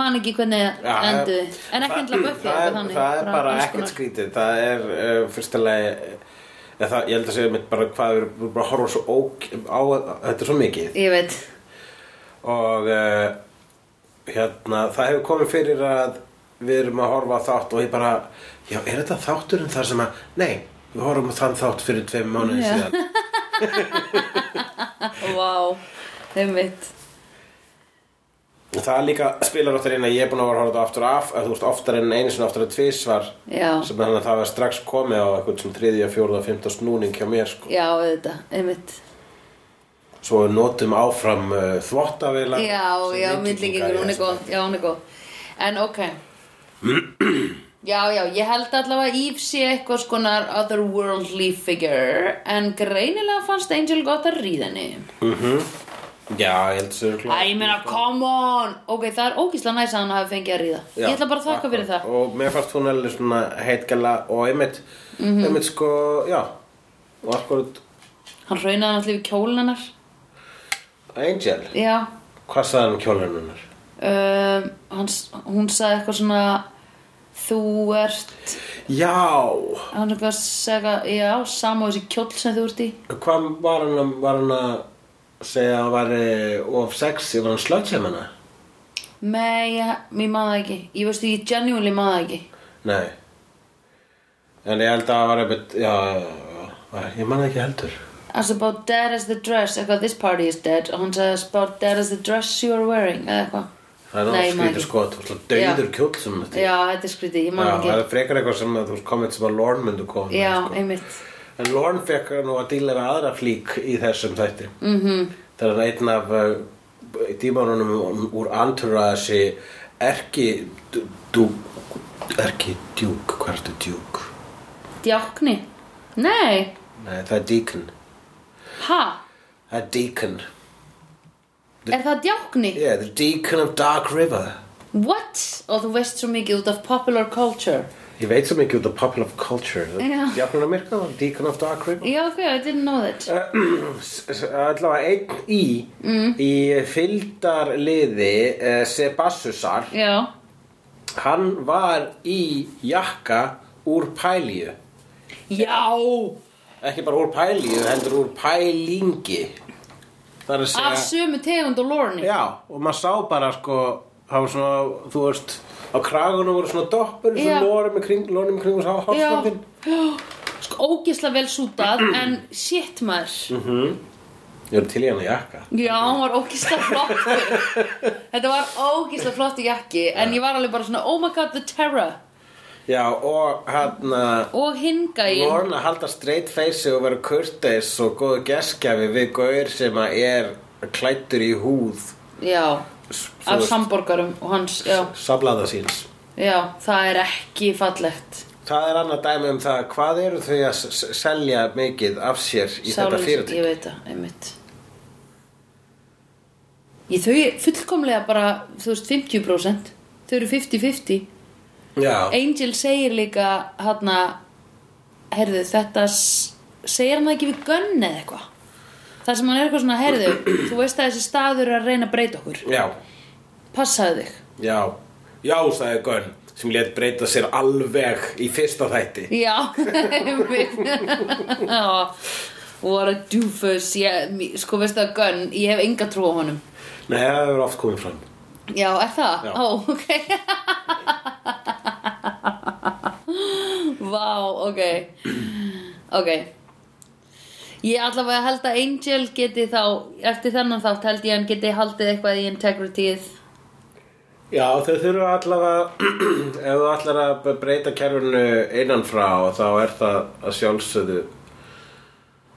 B: man ekki hvernig
A: Já,
B: enduði. En ekki endla buffið
A: það er,
B: eitthvað þannig.
A: það er bara
B: alls
A: ekkert
B: konar.
A: skrítið. Það er uh, fyrstulega, eða eh, það, ég held að segja mitt bara hvað við erum bara að horfa svo ók á, þetta er svo mikið.
B: Ég veit.
A: Og uh, hérna, það hefur komið fyrir að við erum að horfa á þátt og ég bara, já, er þetta þátturinn þar sem að, nei, við horfum á þann þátt fyrir tveim mánuðin
B: Já.
A: síðan.
B: Vá, einmitt.
A: Og það líka spilar oftar inn að ég er búin að vera að horfa á þetta aftur af að þú veist oftar en einu sinni oftar en tvísvar
B: Já.
A: sem þannig að það var strax komið á eitthvað sem þriðja, fjórða, fymta snúning hjá mér sko.
B: Já, auðvitað, einmitt.
A: svo við notum áfram uh, þvottavila
B: Já, já, myndlíkingur, hún er góð, já, hún er góð. En ok. Já, já, ég held allavega að Eve sé eitthvað skonar otherworldly figure en greinilega fannst Angel gott að ríða henni.
A: sko. já, ég held sér
B: Æ, ég meina, come on! Ok, það er ógísla næs að hann hafi fengið að ríða. ég ætla bara að þakka fyrir það.
A: og mér fannst hún alveg svona heitgæla og einmitt,
B: Mhm.
A: einmitt sko, já og akkurat
B: Hann raunaði hann allir við kjólinn hennar.
A: Angel,
B: Já.
A: hvað sagði hann kjólinn hennar?
B: Um, hans, hún sagði eitthvað svona, þú ert...
A: Já,
B: Hann er eitthvað að segja, já, sama og þessi kjóll sem þú ert í.
A: hvað var hann, að- var hann að segja að hann væri of sexy, var hann slötsum hennar?
B: Nei, ég, ég maður það ekki. Ég veistu, ég genuinely maður það ekki.
A: Nei En ég held að það var einmitt Já, já, já, já, ég man það ekki heldur
B: As about dead as the dress, eitthvað, this party is dead. Og hann sagði, as about dead as the dress you are wearing, eða eitthvað.
A: Það er
B: Nei, ég man
A: náttúrulega
B: ekki.
A: sko, þú veist döður
B: Já.
A: kjóll sem þetta
B: Já, þetta er skrítið, ég
A: Já,
B: maður
A: það
B: það
A: er frekar eitthvað sem að þú veist komið sem að Lorne myndu koma
B: ekki.
A: með,
B: Já,
A: sko.
B: einmitt.
A: En Lorne fekk nú að díla við aðra flík í þessum þætti mm -hmm. Það er einn af uh, dímanunum úr Entourage erki dúk erki djúk, hvað er þetta djúk?
B: Djákni. Nei,
A: Nei, það er Deacon
B: ha?
A: Það er Deacon
B: Er það djákni?
A: Yeah, the Deacon of Dark River
B: What? Og þú veist svo mikið út af popular culture.
A: Ég veit svo mikið út af popular culture
B: Já.
A: Jafnir Amerika var Deacon of Dark River
B: Já, ok, I didn't know that.
A: (clears throat) Allavega einn í í fylgdarliði uh, Sebassusar
B: Já,
A: hann var í jakka úr pælíu
B: já,
A: ekki bara úr pælíu, heldur úr pælingi Það er að segja
B: af sömu tegund og lorni.
A: Já, og maður sá bara sko það var svona, þú veist á kragunum voru svona doppur
B: Já.
A: svona lórum í kring, lórum í kring og sá
B: (gasps)
A: hálfsvöldin
B: sko ógisla vel sútað en shit maður
A: Ég er til í hana jakka
B: Já, hann var ógísla flottur Þetta var ógísla flottur jakki En ég var alveg bara svona Oh my god, the terror
A: Já, og hann
B: Og hingægin
A: Vorn að halda straight face og vera kurteis og góðu geskjafi við gaur sem að er klættur í húð
B: Já,
A: s- þú
B: af
A: veist,
B: samborgarum og hans já,
A: sablaða síns
B: já, það er ekki fallegt
A: Það er annað dæmi um það hvað eru þau að s- s- selja mikið af sér í þetta
B: Sálarleysi,
A: fyrirtæki
B: Ég veit það, einmitt Ég þau fullkomlega bara, þú veist, 50% Þau eru 50-50
A: Já,
B: Angel segir líka hérna, heyrðu, þetta s- segir hann það ekki við gönn eða eitthvað Það sem hann er eitthvað svona, heyrðu, þú veist að þessi staður er að reyna að breyta okkur
A: já,
B: Passaðu þig
A: já Já, það er Gunn sem létt breyta sér alveg í fyrsta þætti
B: Já, (laughs) einmitt. (laughs) Já, What a doofus ég, mi- Sko veistu að Gunn, ég hef enga trú á honum
A: Nei, það hefur oft komið fram
B: Já, er það?
A: Já.
B: Ó, ok (laughs) Vá, ok Ok Ég allavega held að Angel geti þá Eftir þennan þátt held ég að hann geti haldið eitthvað í integrityð
A: Já, þau þurfa allavega (clears throat) ef þú ætlar að breyta kerfinu innan frá þá er það að sjálfsögðu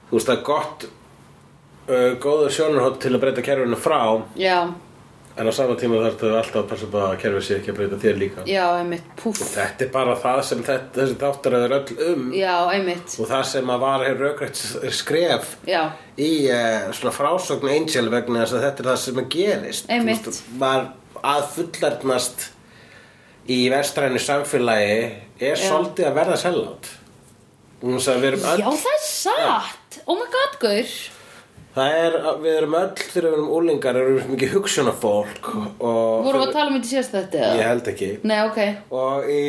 A: þú veist það er gott uh, góður sjónarhótt til að breyta kerfinu frá
B: Já,
A: en á sama tíma þarf þau alltaf að passa upp á að kerfið sé ekki að breyta þér líka
B: já, einmitt, púff
A: Þetta er bara það sem þetta, þessi þáttar er öll um
B: Já, einmitt,
A: og það sem að var hér raukrætt skref
B: já
A: í uh, svona frásögn Angel vegna þess að þetta er það sem að gerist
B: Einmitt.
A: Þú veist, var að fullarnast í vestrænu samfélagi er svolítið að verða sellátt Já,
B: Já,
A: öll,
B: það er satt Oh my god, Gaur
A: það er, að við erum öll þegar við erum úlingar erum við mikið hugsunafólk og
B: Vorum við að tala um þetta sérst þetta?
A: ég held ekki
B: Nei, ok
A: og í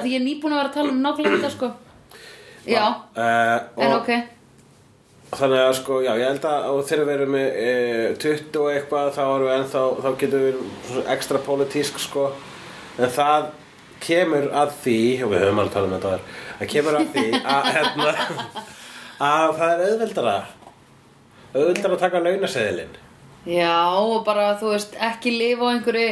A: uh,
B: því ég er nýbúin að vera að tala um nákvæmlega þetta sko Já,
A: uh,
B: en
A: og-
B: ok
A: Þannig að sko, já, ég held að og þegar við erum með e, 20 og eitthvað þá erum við ennþá, þá getum við verið ekstra pólitísk sko en það kemur að því og við höfum alveg talað um þetta þar það kemur
B: (laughs)
A: að því að, hérna, að það er auðveldara auðveldara að taka launaseðilinn
B: Já, og bara þú veist ekki lifa á einhverju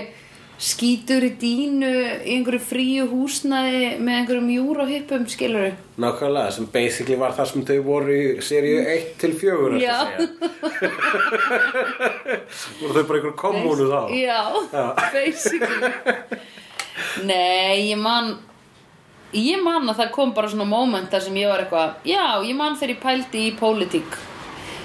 B: skítur í dínu í einhverju fríu húsnaði með einhverjum júróhippum skiluru
A: nákvæmlega, sem basically var það sem þau voru í seríu 1 til 4
B: Já.
A: (laughs) voru þau bara einhver kommunu þá
B: Já,
A: Já.
B: (laughs) basically Nei, ég man ég man að það kom bara svona moment þar sem ég var eitthvað Já, ég man þegar ég pældi í pólitík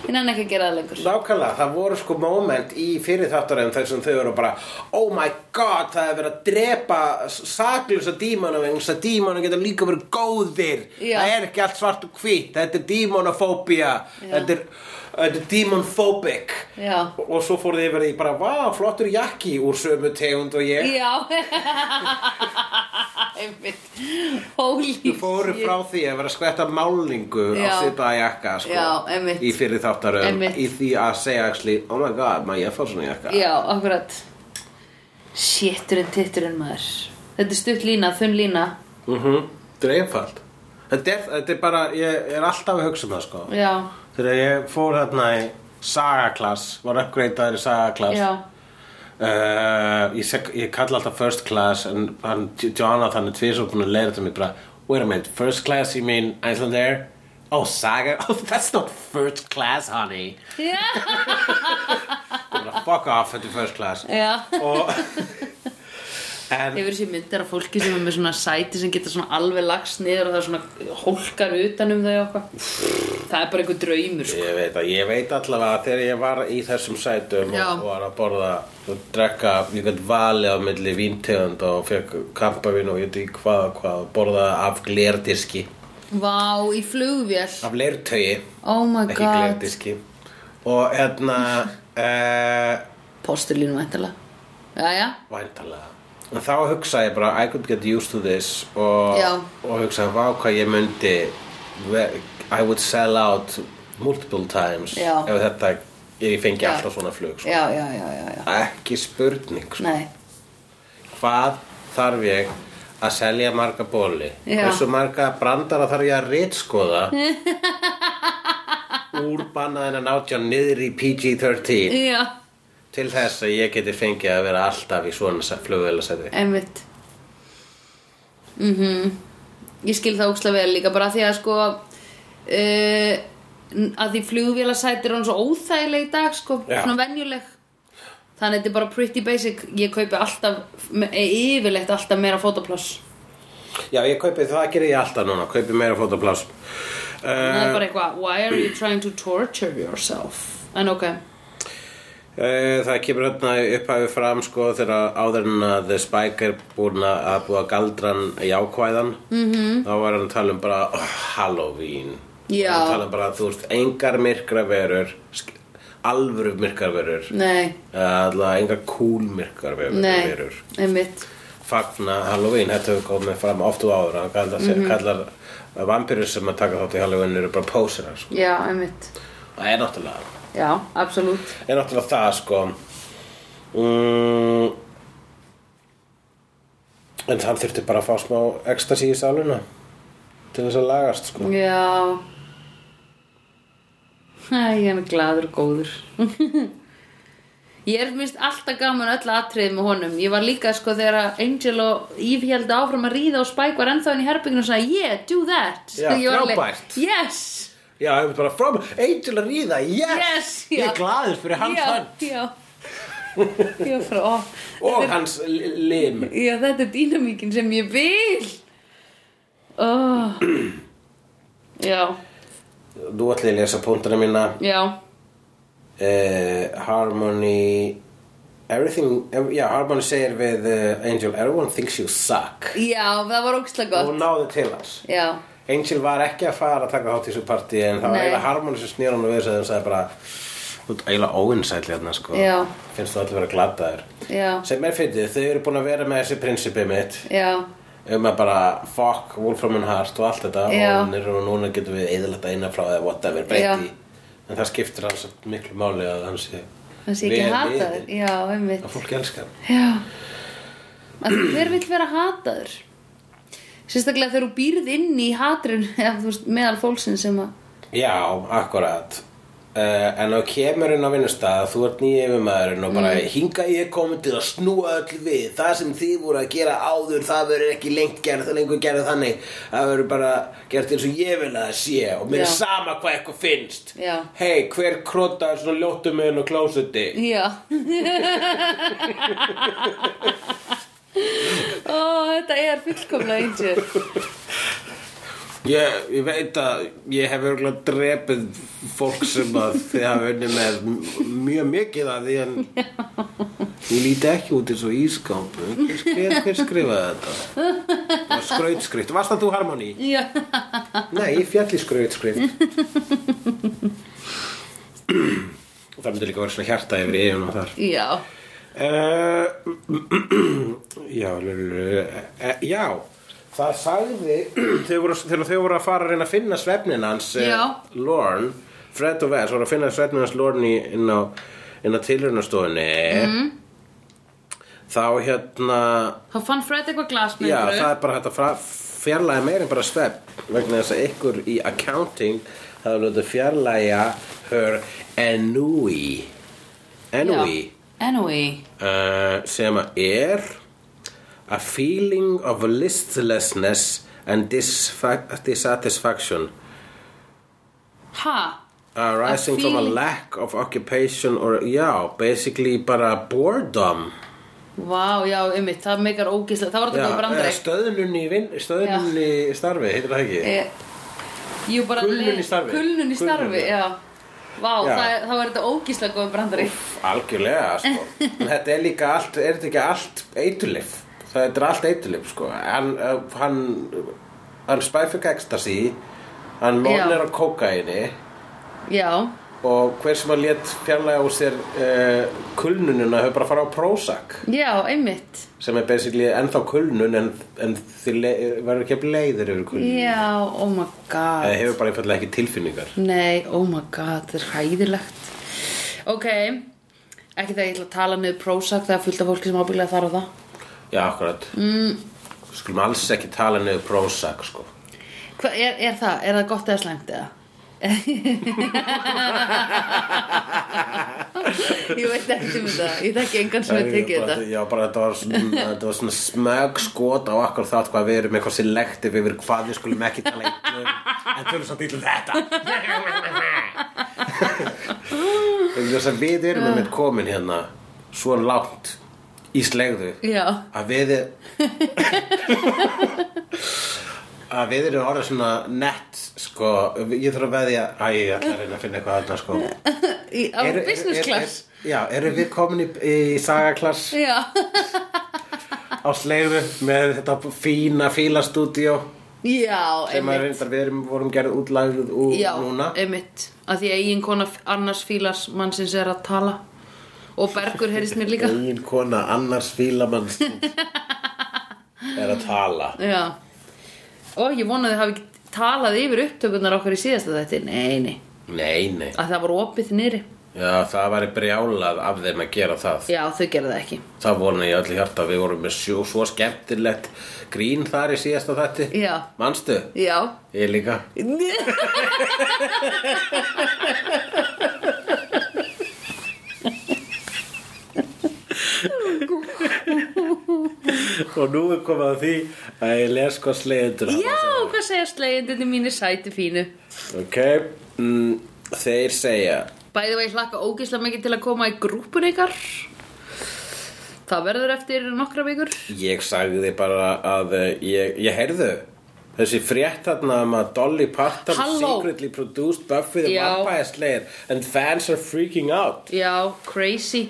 B: Ég nenni ekki að gera það lengur
A: Nákvæmlega, það voru sko moment í fyrir þáttaröðum þar sem þau voru bara Oh my god, það er verið að drepa saklusa dímona vegna þess að dímona geta líka verið góðir
B: Já.
A: Það er ekki allt svart og hvít, þetta er dímonofóbía Þetta er, þetta er dímonfóbik
B: Já.
A: og, og svo fóru þið verið í bara, vá, flottur jakki úr sömu tegund og ég
B: Já (laughs) Einmitt Holy
A: Þau fóru
B: shit.
A: frá því að vera að skvetta málningu
B: Já.
A: á sitt að jakka sko,
B: Já, einmitt.
A: í fyrir þáttaröðum
B: Einmitt.
A: í því að segja actually, oh my god, maður ég fá svona jakka
B: Já, akkurat Shitturinn, titturinn maður Þetta er stutt lína, þunn lína
A: Mhm, Þetta er einfalt þetta er, þetta er bara, ég er alltaf að hugsa um það sko
B: Já,
A: Þegar ég fór hérna í sagaklass Var uppgreitaður í sagaklass
B: já,
A: uh, ég, seg- ég kalla alltaf first class En hann, Jonathan er tvisar búin að leira þetta mér bara Wait a minute, first class you mean Iceland Air? Oh, saga, (laughs) oh, that's not first class, honey
B: já,
A: Ég bara, Fuck off, þetta er first class
B: já.
A: Og (laughs) En
B: Hefur þessi myndir af fólki sem er með svona sæti sem getur svona alveg lagst niður og það er svona hólkar utan um þau og eitthvað Það er bara einhver draumur sko.
A: Ég veit að, ég veit allavega að þegar ég var í þessum sætum
B: Já.
A: og var að borða og drekka, ég gætt vali á milli víntegund og fekk kampavín og ég veit í hvað og hvað og borðaði af glerdiski,
B: Vá, í flugvél
A: af leirtögi,
B: Oh my
A: ekki
B: god
A: glerdiski og hérna, uh,
B: Postulínu væntalega Jæja,
A: væntalega. En þá hugsaði ég bara, I could get used to this og,
B: Já.
A: og hugsaði, vá hvað ég myndi, ve- I would sell out multiple times
B: Já.
A: ef þetta, ég fengi
B: Já.
A: alltaf svona flug, sko.
B: já, já, já, já, já.
A: ekki spurning sko.
B: Nei,
A: hvað þarf ég að selja marga bóli
B: Já.
A: hversu marga brandara þarf ég að rítskoða úrbannaðin að nátjá niður í PG-13
B: Já,
A: til þess að ég geti fengið að vera alltaf í svona flugvélasæti
B: einmitt mm Ég skil það ókslega vel líka bara af því að sko uh, að því flugvélasæti er hann svo óþægileg í dag sko,
A: Já.
B: svona venjuleg Þannig að þetta er bara pretty basic Ég kaupi alltaf, me- e, yfirleitt alltaf meira fótapláss
A: Já, ég kaupi það gerir ég alltaf núna, kaupi meira fótopláss
B: Það er
A: uh,
B: bara eitthvað, why are you trying to torture yourself? En ok,
A: uh, Það kemur hérna upphæfi fram sko þegar áður en að The Spike er búin að að búa galdran jákvæðan -hmm. þá var hann að tala um bara oh, Halloween
B: Mhm. Já.
A: Hann tala um bara að þú veist engar myrkraverur sk- alvöru myrkraverur
B: nei,
A: Alla engar cool myrkraverur
B: nei,
A: verur.
B: einmitt
A: fagna Halloween þetta hefur komið fram oft og áður hann kallar,
B: Mhm.
A: mm kallar vampýrur sem að taka þátt í Halloween eru bara pósirar sko.
B: Já, einmitt
A: það er náttúrulega
B: Já, absolutt
A: er náttúrulega það sko mm, en hann þurfti bara að fá smá ekstasi í saluna til þess að lagast sko
B: Já Æ, hann er gladur og góður Ég er minnst alltaf gaman öll atriðið með honum Ég var líka sko þegar að Angel og Eve held áfram að ríða og Spike var ennþá inn í herbygginu og sagði Yeah, do that
A: Já,
B: Ég var alveg,
A: frábært.
B: Yes,
A: já, ég veit bara from Angel að ríða, yes,
B: yes
A: ég
B: já.
A: er glaður fyrir hans
B: já,
A: hann
B: Já Ég var frá, ó
A: og hans li- lim
B: Já, þetta er dýnamíkin sem ég vil oh. Já,
A: þú ætlaði að lesa púntana mína
B: já
A: uh, Harmony Everything, ev já, Harmony segir við uh, Angel, everyone thinks you suck
B: Já, það var ógislega
A: og
B: gott
A: náði til hans
B: Já,
A: Angel var ekki að fara að taka þátt í þessu partí en það var
B: Nei.
A: eiginlega Harmony sem snýr hann við þess að hann sagði bara þú ert eiginlega óinsæll hérna sko
B: Já.
A: finnst þú allir vera glataður
B: já,
A: sem er fyndið, þau eru búin að vera með þessi prinsipi mitt
B: já
A: um að bara fuck Wolfram and Heart og allt þetta
B: Já.
A: og, nýr, og núna getum við eðalegt að innan frá eða whatever breyti en það skiptir hans miklu máli að hann sé
B: Það sé
A: vel
B: ekki hataður
A: liðinn.
B: Já, einmitt
A: að fólk elskar hann
B: Já að því Hver vill vera hataður? Sérstaklega þegar þú býrð inn í hatrun (laughs) eða þú veist, meðal fólksinn sem að
A: Já, akkurat uh, En þá kemur inn á vinnustað Þú ert nýja yfirmaðurinn og
B: Mm.
A: bara Hinga ég er komin til að snúa öll við Það sem þið voru að gera áður Það verður ekki lengt gerð Það lengur gerð þannig Það verður bara gert eins og ég vil að það sé Og mér er
B: Já.
A: sama hvað eitthvað finnst
B: Já.
A: Hei, hver krota er svona ljóttum inn og klósuti
B: Já (laughs) Ó, þetta er fullkomlega angel
A: Ég, ég veit að ég hef örgulega drepið fólk sem að þið hafa unni með m- mjög mikið að því en ég líti ekki út eins og ískáp hver, skrif, hver skrifaði þetta? Og skrautskrift, varst það þú harmoni?
B: Já,
A: Nei, ég fjall í skrautskrift Það myndi líka vera svona hjarta yfir eigin og þar
B: já
A: Uh, (clears throat) já, lululu, uh, já, það sagði (clears throat) þau voru, þegar þau voru að fara að reyna að finna svefnin hans eh,
B: Já.
A: Lorne, Fred og Vess voru að finna svefnin hans Lorne í, inn á, inn á tilraunastofunni
B: Mhm.
A: þá hérna
B: Þá fann Fred eitthvað glas með
A: já,
B: einhverju.
A: það er bara hægt að fjarlæga meira en bara svefn vegna þess að ykkur í accounting það er lótið fjarlæga her ennúi ennúi
B: Já. E. Anyway
A: uh, sem að er a feeling of listlessness and disfa- dissatisfaction
B: Ha?
A: arising from a
B: feeling-
A: lack of occupation or já, basically bara boredom
B: Vá, já, einmitt, það meikar ógíslega Það var þetta
A: já,
B: góð brandari
A: eða stöðnun í, vin, stöðnun í starfi heitir það ekki
B: Eh, Jú, bara
A: Kulnun í starfi.
B: Kulnun í starfi,
A: Kulnun, já.
B: já Vá,
A: Já.
B: Það, það var þetta ógíslega góð brandari
A: algjörlega
B: (laughs)
A: sko. En þetta er líka allt, er þetta ekki allt eitulif þetta er allt eitulif sko. hann, uh, hann, hann spæfik ekstasi hann
B: Já.
A: lónir á kókaini
B: Já,
A: og hver sem að lét fjarlæga úr sér uh, kulnununa hefur bara farið á Prozac
B: já, einmitt
A: sem er basically ennþá kulnun en, en þið le- verður ekki að leiðir yfir kulnun
B: Já, oh my god
A: eða hefur bara einfallega ekki tilfinningar
B: Nei, oh my god, það er hæðilegt Ok Ekki þegar ég ætla að tala niður Prozac Það er fullt af fólki sem ábyggilega þarf það
A: já, akkurat mm. skulum alls ekki tala niður Prozac sko.
B: Hva, er, er það, er það gott eða (laughs) slæmt eða? ég veit ekki um þetta ég þekki engan sem hefur tekið þetta
A: Já, bara þetta var svona,
B: (laughs)
A: þetta var svona smög skot á akkur þátt hvað við erum eitthvað selektiv yfir hvað við skulum ekki tala illa um en tölum samt ítlum
B: (laughs)
A: þetta Þegar þess að við erum með komin hérna svo langt í slegðu
B: já,
A: að við e- (laughs) að við erum orðið svona nett sko, ég þarf að veðja að ég ætla að reyna að finna eitthvað annað sko
B: í, á
A: Eru-
B: business
A: er-
B: class
A: er- Já, erum við komin í, í sagaklass
B: já,
A: á sleifu með þetta fína fílastúdíó
B: já,
A: sem að
B: einmitt
A: reyndar við erum, vorum gerð útlægð úr
B: já,
A: núna
B: einmitt að því að eigin kona f- annars fílas mannsins er að tala og Bergur heyrist mér
A: (laughs)
B: líka
A: Egin kona annars
B: (laughs)
A: fílamanns er að tala
B: já og ég vonaði að hafi ekki talað yfir upptökurnar okkar í síðasta þetta nei, nei,
A: Nei, nei
B: að það var opið niðri
A: Já, það væri brjálað af þeim að gera það
B: já, þau gerðu það ekki
A: Það vona ég allir hjarta Við vorum með sjó, svo skemmtilegt grín þar í síðasta þætti
B: Já.
A: Manstu?
B: já (laughs)
A: Ég líka Og nú er komið að því að ég les sko hvað sleiðendur
B: já, hvað segja slegjendinni mínir sæti fínu
A: Ok mm, Þeir segja
B: Bæði var ég hlakka ógeðslega mikið til að koma í grúpun ykkar Það verður eftir nokkra vikur
A: Ég sagði bara að eh, ég, ég heyrðu Þessi frétt þarna um að Dolly Parton
B: Halló.
A: secretly produced Buffy the
B: Já.
A: Vampire Slayer and fans are freaking out
B: Já, crazy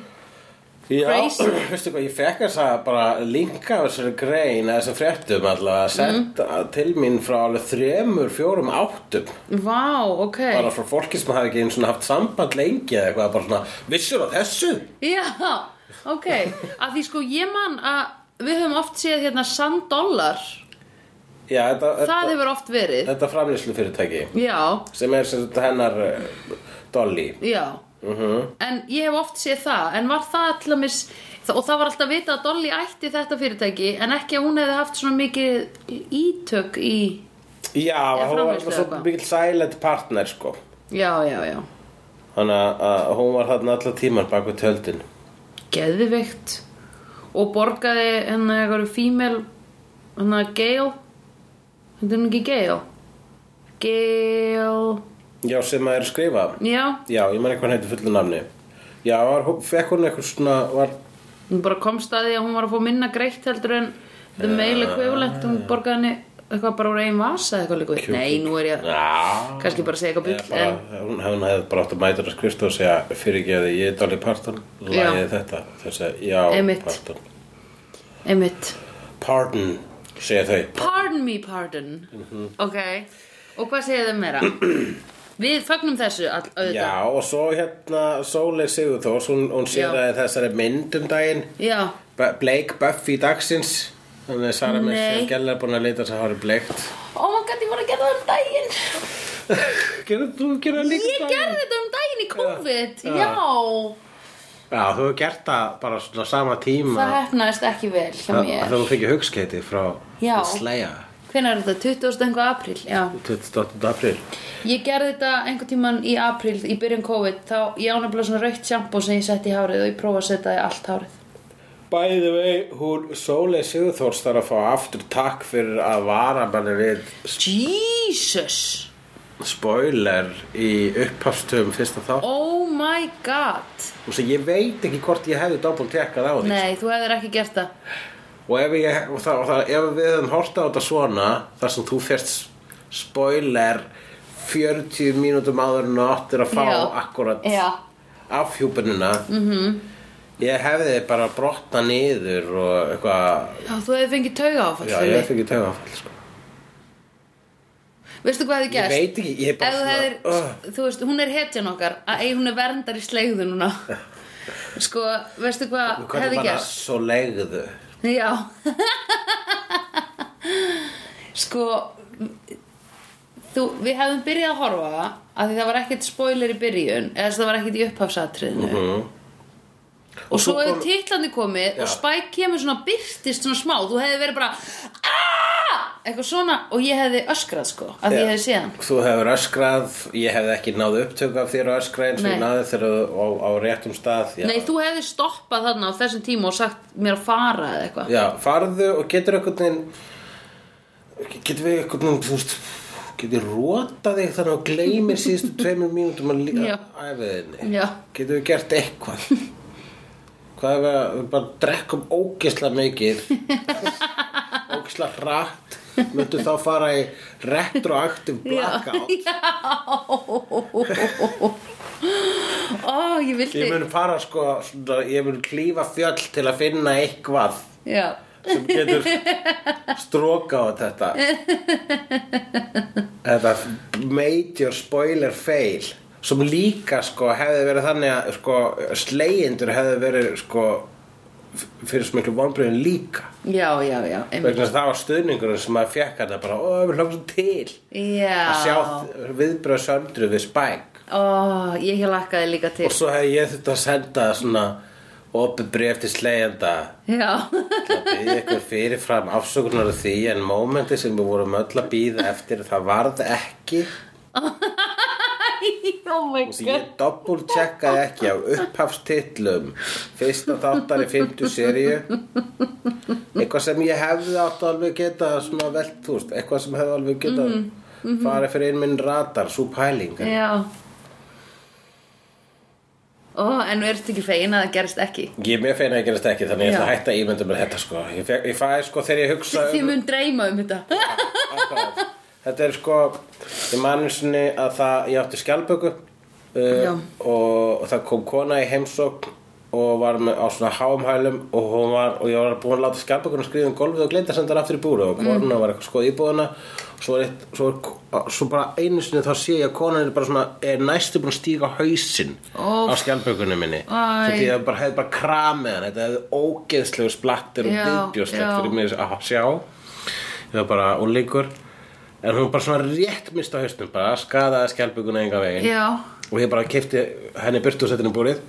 A: Já,
B: Crazy.
A: (clears throat) veistu hvað, ég fekk þess að bara linka á þessari grein að þessum fréttum allavega að senda
B: Mhm.
A: til mín frá alveg þremur, fjórum, áttum
B: Vá, ok
A: bara frá fólki sem hafi ekki einu svona haft samband lengi eða eitthvað, bara svona vissur á þessu
B: Já, ok Að því sko ég man að við höfum oft séð hérna sanddollar
A: Já, þetta,
B: Það
A: þetta,
B: hefur oft verið
A: þetta framlýslu fyrirtæki
B: Já,
A: sem er sem þetta hennar uh, Dolly
B: já En ég hef oft séð það En var það alltaf mis Og það var alltaf vitað að Dolly ætti þetta fyrirtæki En ekki að hún hefði haft svona mikið ítök í
A: Já, hún var
B: framleiðslu
A: var
B: eða
A: svo
B: hvað?
A: mikil silent partner sko
B: Já, já, já
A: Þannig að- að hún var þarna allar tíman bak við tjöldin
B: geðvikt og borgaði henni eitthvað female henni Gail henni er hún ekki Gail Gail
A: Já, sem að er að skrifa
B: já,
A: Já, ég man ekki hvað hann heitir fullu nafni Já, var, hún- fekk hún eitthvað svona var,
B: hún bara komst að því að hún var að fá minna greitt heldur en the male equivalent hún borgaði henni eitthvað bara úr einn vasa eða eitthvað líka nei, nú er ég
A: Já
B: kannski bara að segja
A: Eða
B: eitthvað bull
A: bara,
B: en
A: hún, hún hefði bara átt að mæta að skrifta og segja fyrirgeði ég er Dolly Parton lagið þetta þess að já
B: Einmitt.
A: Parton
B: einmitt
A: Pardon segja þau
B: pardon me pardon
A: Mhm.
B: ok, og hvað segja þau
A: (clears throat)
B: meira við fagnum þessu all, auðvitað
A: Já og svo hérna Sólei Sigurþórs hún, hún sér að þessari mynd um daginn
B: já.
A: B- Blake Buffy dagsins þannig að Sara
B: Nei.
A: Messi Gjellar búin að leita sér hárið bleikt
B: Oh my god, ég voru að gera það um daginn
A: Gerðu þú gerðu það líka
B: Ég
A: daginn?
B: gerði þetta um daginn í COVID
A: Já.
B: Já,
A: Já þú hefur gert það bara svona sama tíma
B: það hefnaðist ekki vel hjá
A: Það
B: mér
A: þú fengið hugskeiti frá
B: Já.
A: Sleja
B: Hvenær er þetta? 20. einhvað apríl, já
A: 28. april
B: Ég gerði þetta einhvern tímann í apríl í byrjun COVID þá ég ánafnilega svona rautt sjampó sem ég setti í hárið og ég prófa að setja í allt hárið
A: By the way, hún Sólei Sigurþórs þarf að fá aftur takk fyrir að vara manni við
B: Jesus
A: spoiler í upphafstöfum fyrsta þá
B: Oh my god
A: og sem ég veit ekki hvort ég hefði doppelt tekkað á því
B: Nei, þú hefðir ekki gert það
A: og, ef, ég, og, það, og það, ef við höfum horta á þetta svona þar sem þú fyrst spoiler 40 mínútum áður en þú áttir að fá
B: Já.
A: akkurat
B: Já. Mhm.
A: afhjúpunina -hmm. ég hefði bara brotna niður og eitthvað
B: Já, þú hefði fengið tauga áfall
A: já, ég hefði ekki tegum afall sko.
B: Veistu hvað hefði
A: ég
B: gerst?
A: veit ekki, ég er
B: Ef
A: bara
B: þú hefðir,
A: Ugh.
B: þú veist, hún er hetjan okkar að ei, hún er verndar í slegðu núna
A: (laughs)
B: Sko, veistu hvað
A: Hvað er
B: hefði
A: bara
B: gerst?
A: svo leiðu?
B: Já Sko þú, við hefðum byrjað að horfa að því það var ekkert spoiler í byrjun eða þess að það var ekkert í upphafsatriðinu
A: Mhm.
B: og, svo hefur kom... titlandi komið og
A: Já.
B: Spike kemur svona byrtist svona smá, þú hefði verið bara "Ah!" eitthvað svona og ég hefði öskrað sko að ég hefði séð hann
A: Þú hefur öskrað, ég hefði ekki náð upptöku af þér að öskra eins og
B: Nei.
A: ég náði þegar þú á, á réttum stað já.
B: Nei, þú hefði stoppað þarna á þessum tíma og sagt mér að fara eða eitthvað
A: já, farðu og getur einhvern veginn getur við einhvern veginn þú veist, getur rótað þig þannig að þú gleymir
B: (laughs)
A: síðustu tveimur mínútum að
B: Já.
A: líka æfiðinni
B: Já.
A: getur við gert eitthvað hvað er að við bara drekkum ógisla
B: (laughs)
A: mikið ógisla hratt myndu þá fara í retroaktiv blackout
B: (laughs) Ó, ég vildi
A: Ég mun fara sko, svona, ég mun klífa fjöll til að finna eitthvað
B: Já,
A: sem getur stróka á þetta. Þetta major spoiler fail sem líka sko hefði verið þannig að sko slegjendur hefði verið sko f- fyrir svo miklu vonbröðin líka.
B: já, já, já einmitt.
A: Vegna þess að það var stuðningurinn sem maður fekk þetta bara, ó, við hlóksum til að sjá
B: Já
A: viðbröð söndru við Spike.
B: Ó, ég lakkaði líka til
A: Og svo hefði ég þurft að senda svona opið bréf til slegjanda
B: Já, (laughs)
A: til að byggja ykkur fyrirfram afsökunar af því en mómenti sem við vorum öll að býða eftir það varð ekki
B: oh my
A: og því
B: god
A: ég doppultjekkaði ekki á upphafstitlum fyrsta þáttar í 50 seríu eitthvað sem ég hefði átt að alveg geta svona velt, þú veist, eitthvað sem hefði alveg geta farið fyrir einn minn radar, svo pæling en
B: Já Ó, en ertu ekki fegin að það gerist ekki
A: Ég er mjög feina að gerast ekki þannig ég ætla
B: Já.
A: að hætta að ímynda mér þetta sko Ég, fekk, ég fæ sko þegar ég hugsa um
B: Þið mun dreyma um þetta
A: Akkurat. Þetta er sko ég manu sinni að það ég átti skjálpöku uh,
B: Já.
A: og það kom kona í heimsókn og var með, á svona háumhælum og, hún var, og ég var búin að láta skjálpökunum skrifa um golfið og gleynda senda hann aftur í búru og
B: Mm.
A: kona var eitthvað skoð íbúðuna og svo, er eitt, svo, er, svo bara einu sinni þá sé ég að konan er bara svona er næstu búin að stíga á hausinn
B: Óf.
A: á skjálpökunum minni
B: Æ.
A: því ég bara, hefði bara kramið hann þetta hefði ógeðslegu splattir og
B: Já,
A: viðbjóslegt
B: já.
A: fyrir mig að sjá ég var bara úlíkur en hún bara svona rétt mista haustum bara skadaði skjálpuguna enga veginn
B: Já
A: og ég bara kefti henni burtu og setti henni í búrið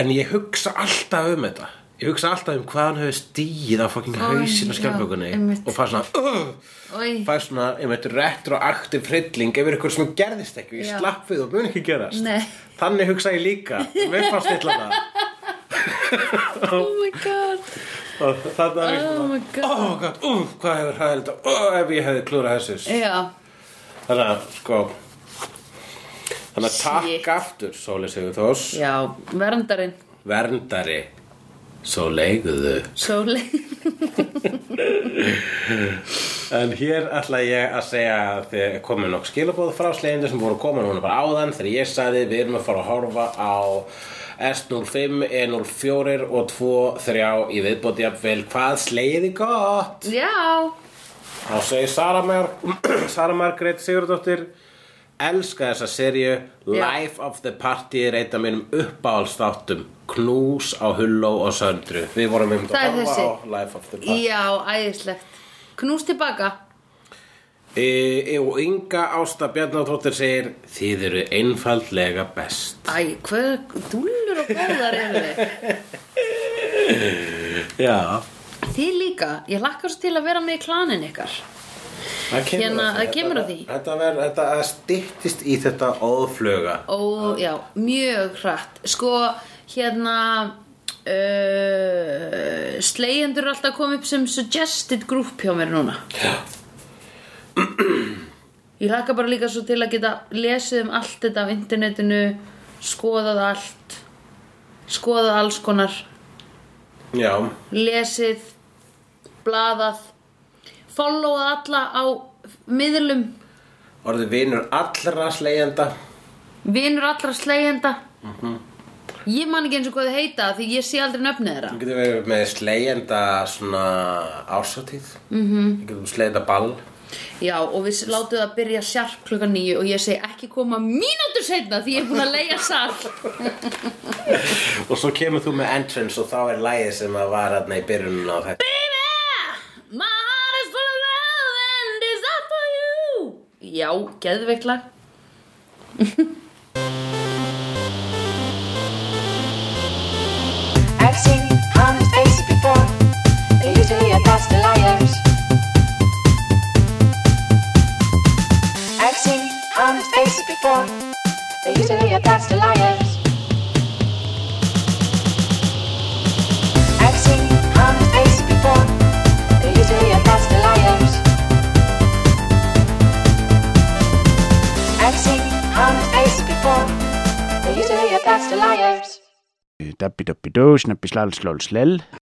A: en ég hugsa alltaf um þetta ég hugsa alltaf um hvað hann hefur stíð á fucking
B: Æ,
A: hausin og
B: já,
A: skjálpugunni
B: einmitt.
A: og fær svona "Ugh",
B: Oi.
A: fær svona einmitt retroaktiv hrylling yfir ykkur sem gerðist ekki ég
B: Já.
A: slapp við og mun ekki gerast
B: Nei.
A: þannig hugsa ég líka við fannst illa
B: (laughs)
A: það
B: Oh my god
A: og þannig að ég
B: Oh my god
A: oh god, uh, hvað hefur hæðið þetta oh, ef ég hefði klúrað þessu
B: Já,
A: þannig að sko þannig að
B: Shit.
A: takk aftur Sóli Sigurþós
B: já, verndarinn
A: verndari Sóleiguðu
B: Sóli
A: (laughs) en hér ætla ég að segja að þið komið nokk skilabóð frá sleginu sem voru komin núna bara áðan þegar ég sagði við erum að fara að horfa á S05, E04 og 23 í viðbóti jafnvel hvað slegiði gott
B: Já,
A: Þá segir Sara, Mar (clears throat) Sara Margrét Sigurdóttir Elska þessa seríu Life of the Party er eitt af mínum uppáhaldsþáttum Knús á Hulló og Söndru Við vorum um
B: Það er
A: að horfa
B: þessi.
A: á Life of the Party
B: já, æðislegt Knús tilbaka
A: e, e, Og Inga Ásta Bjarnadóttir segir Þið eru einfaldlega best
B: Æ, hvað, dúllur og góðar eru þið
A: Já
B: Þið líka, ég lakkar svo til að vera með í klanin ykkar
A: Það kemur,
B: Hérna,
A: að, því.
B: það kemur að því.
A: Þetta, þetta, ver, þetta að styttist í þetta óðfluga
B: Ó, já, mjög hratt Sko, hérna uh, Slegjendur er alltaf komið upp sem suggested group hjá mér núna Já Ég lakka bara líka svo til að geta lesið um allt þetta á internetinu skoðað allt skoðað alls konar
A: Já,
B: lesið, blaðað, followað alla á miðlum,
A: orðið vinur allra slegjenda
B: vinur allra slegjenda. Ég man ekki eins og hvað þið heita því ég sé aldrei nöfnið þeirra.
A: Við getum verið með slegjenda svona ársatíð mm -hmm. Við getum slegjenda ball
B: Já, og við látum það að byrja sjarp klukkan nýju og ég segi ekki koma mínútur seinna því ég er búin að leiga (laughs) sall.
A: Og svo kemur þú með entrance og þá er lagið sem að var hérna í byrjunum á þetta
B: My heart is full of love and is up for you. Já, geðveikt lag.
C: I've seen honest faces before. They're usually a pass to liars. on his face before. They usually are past the liars. I've seen on his face before. They usually are past the liars. I've seen on his face before. They usually are past the liars.
D: Dabbi dabbi dó, snabbi slal slól slel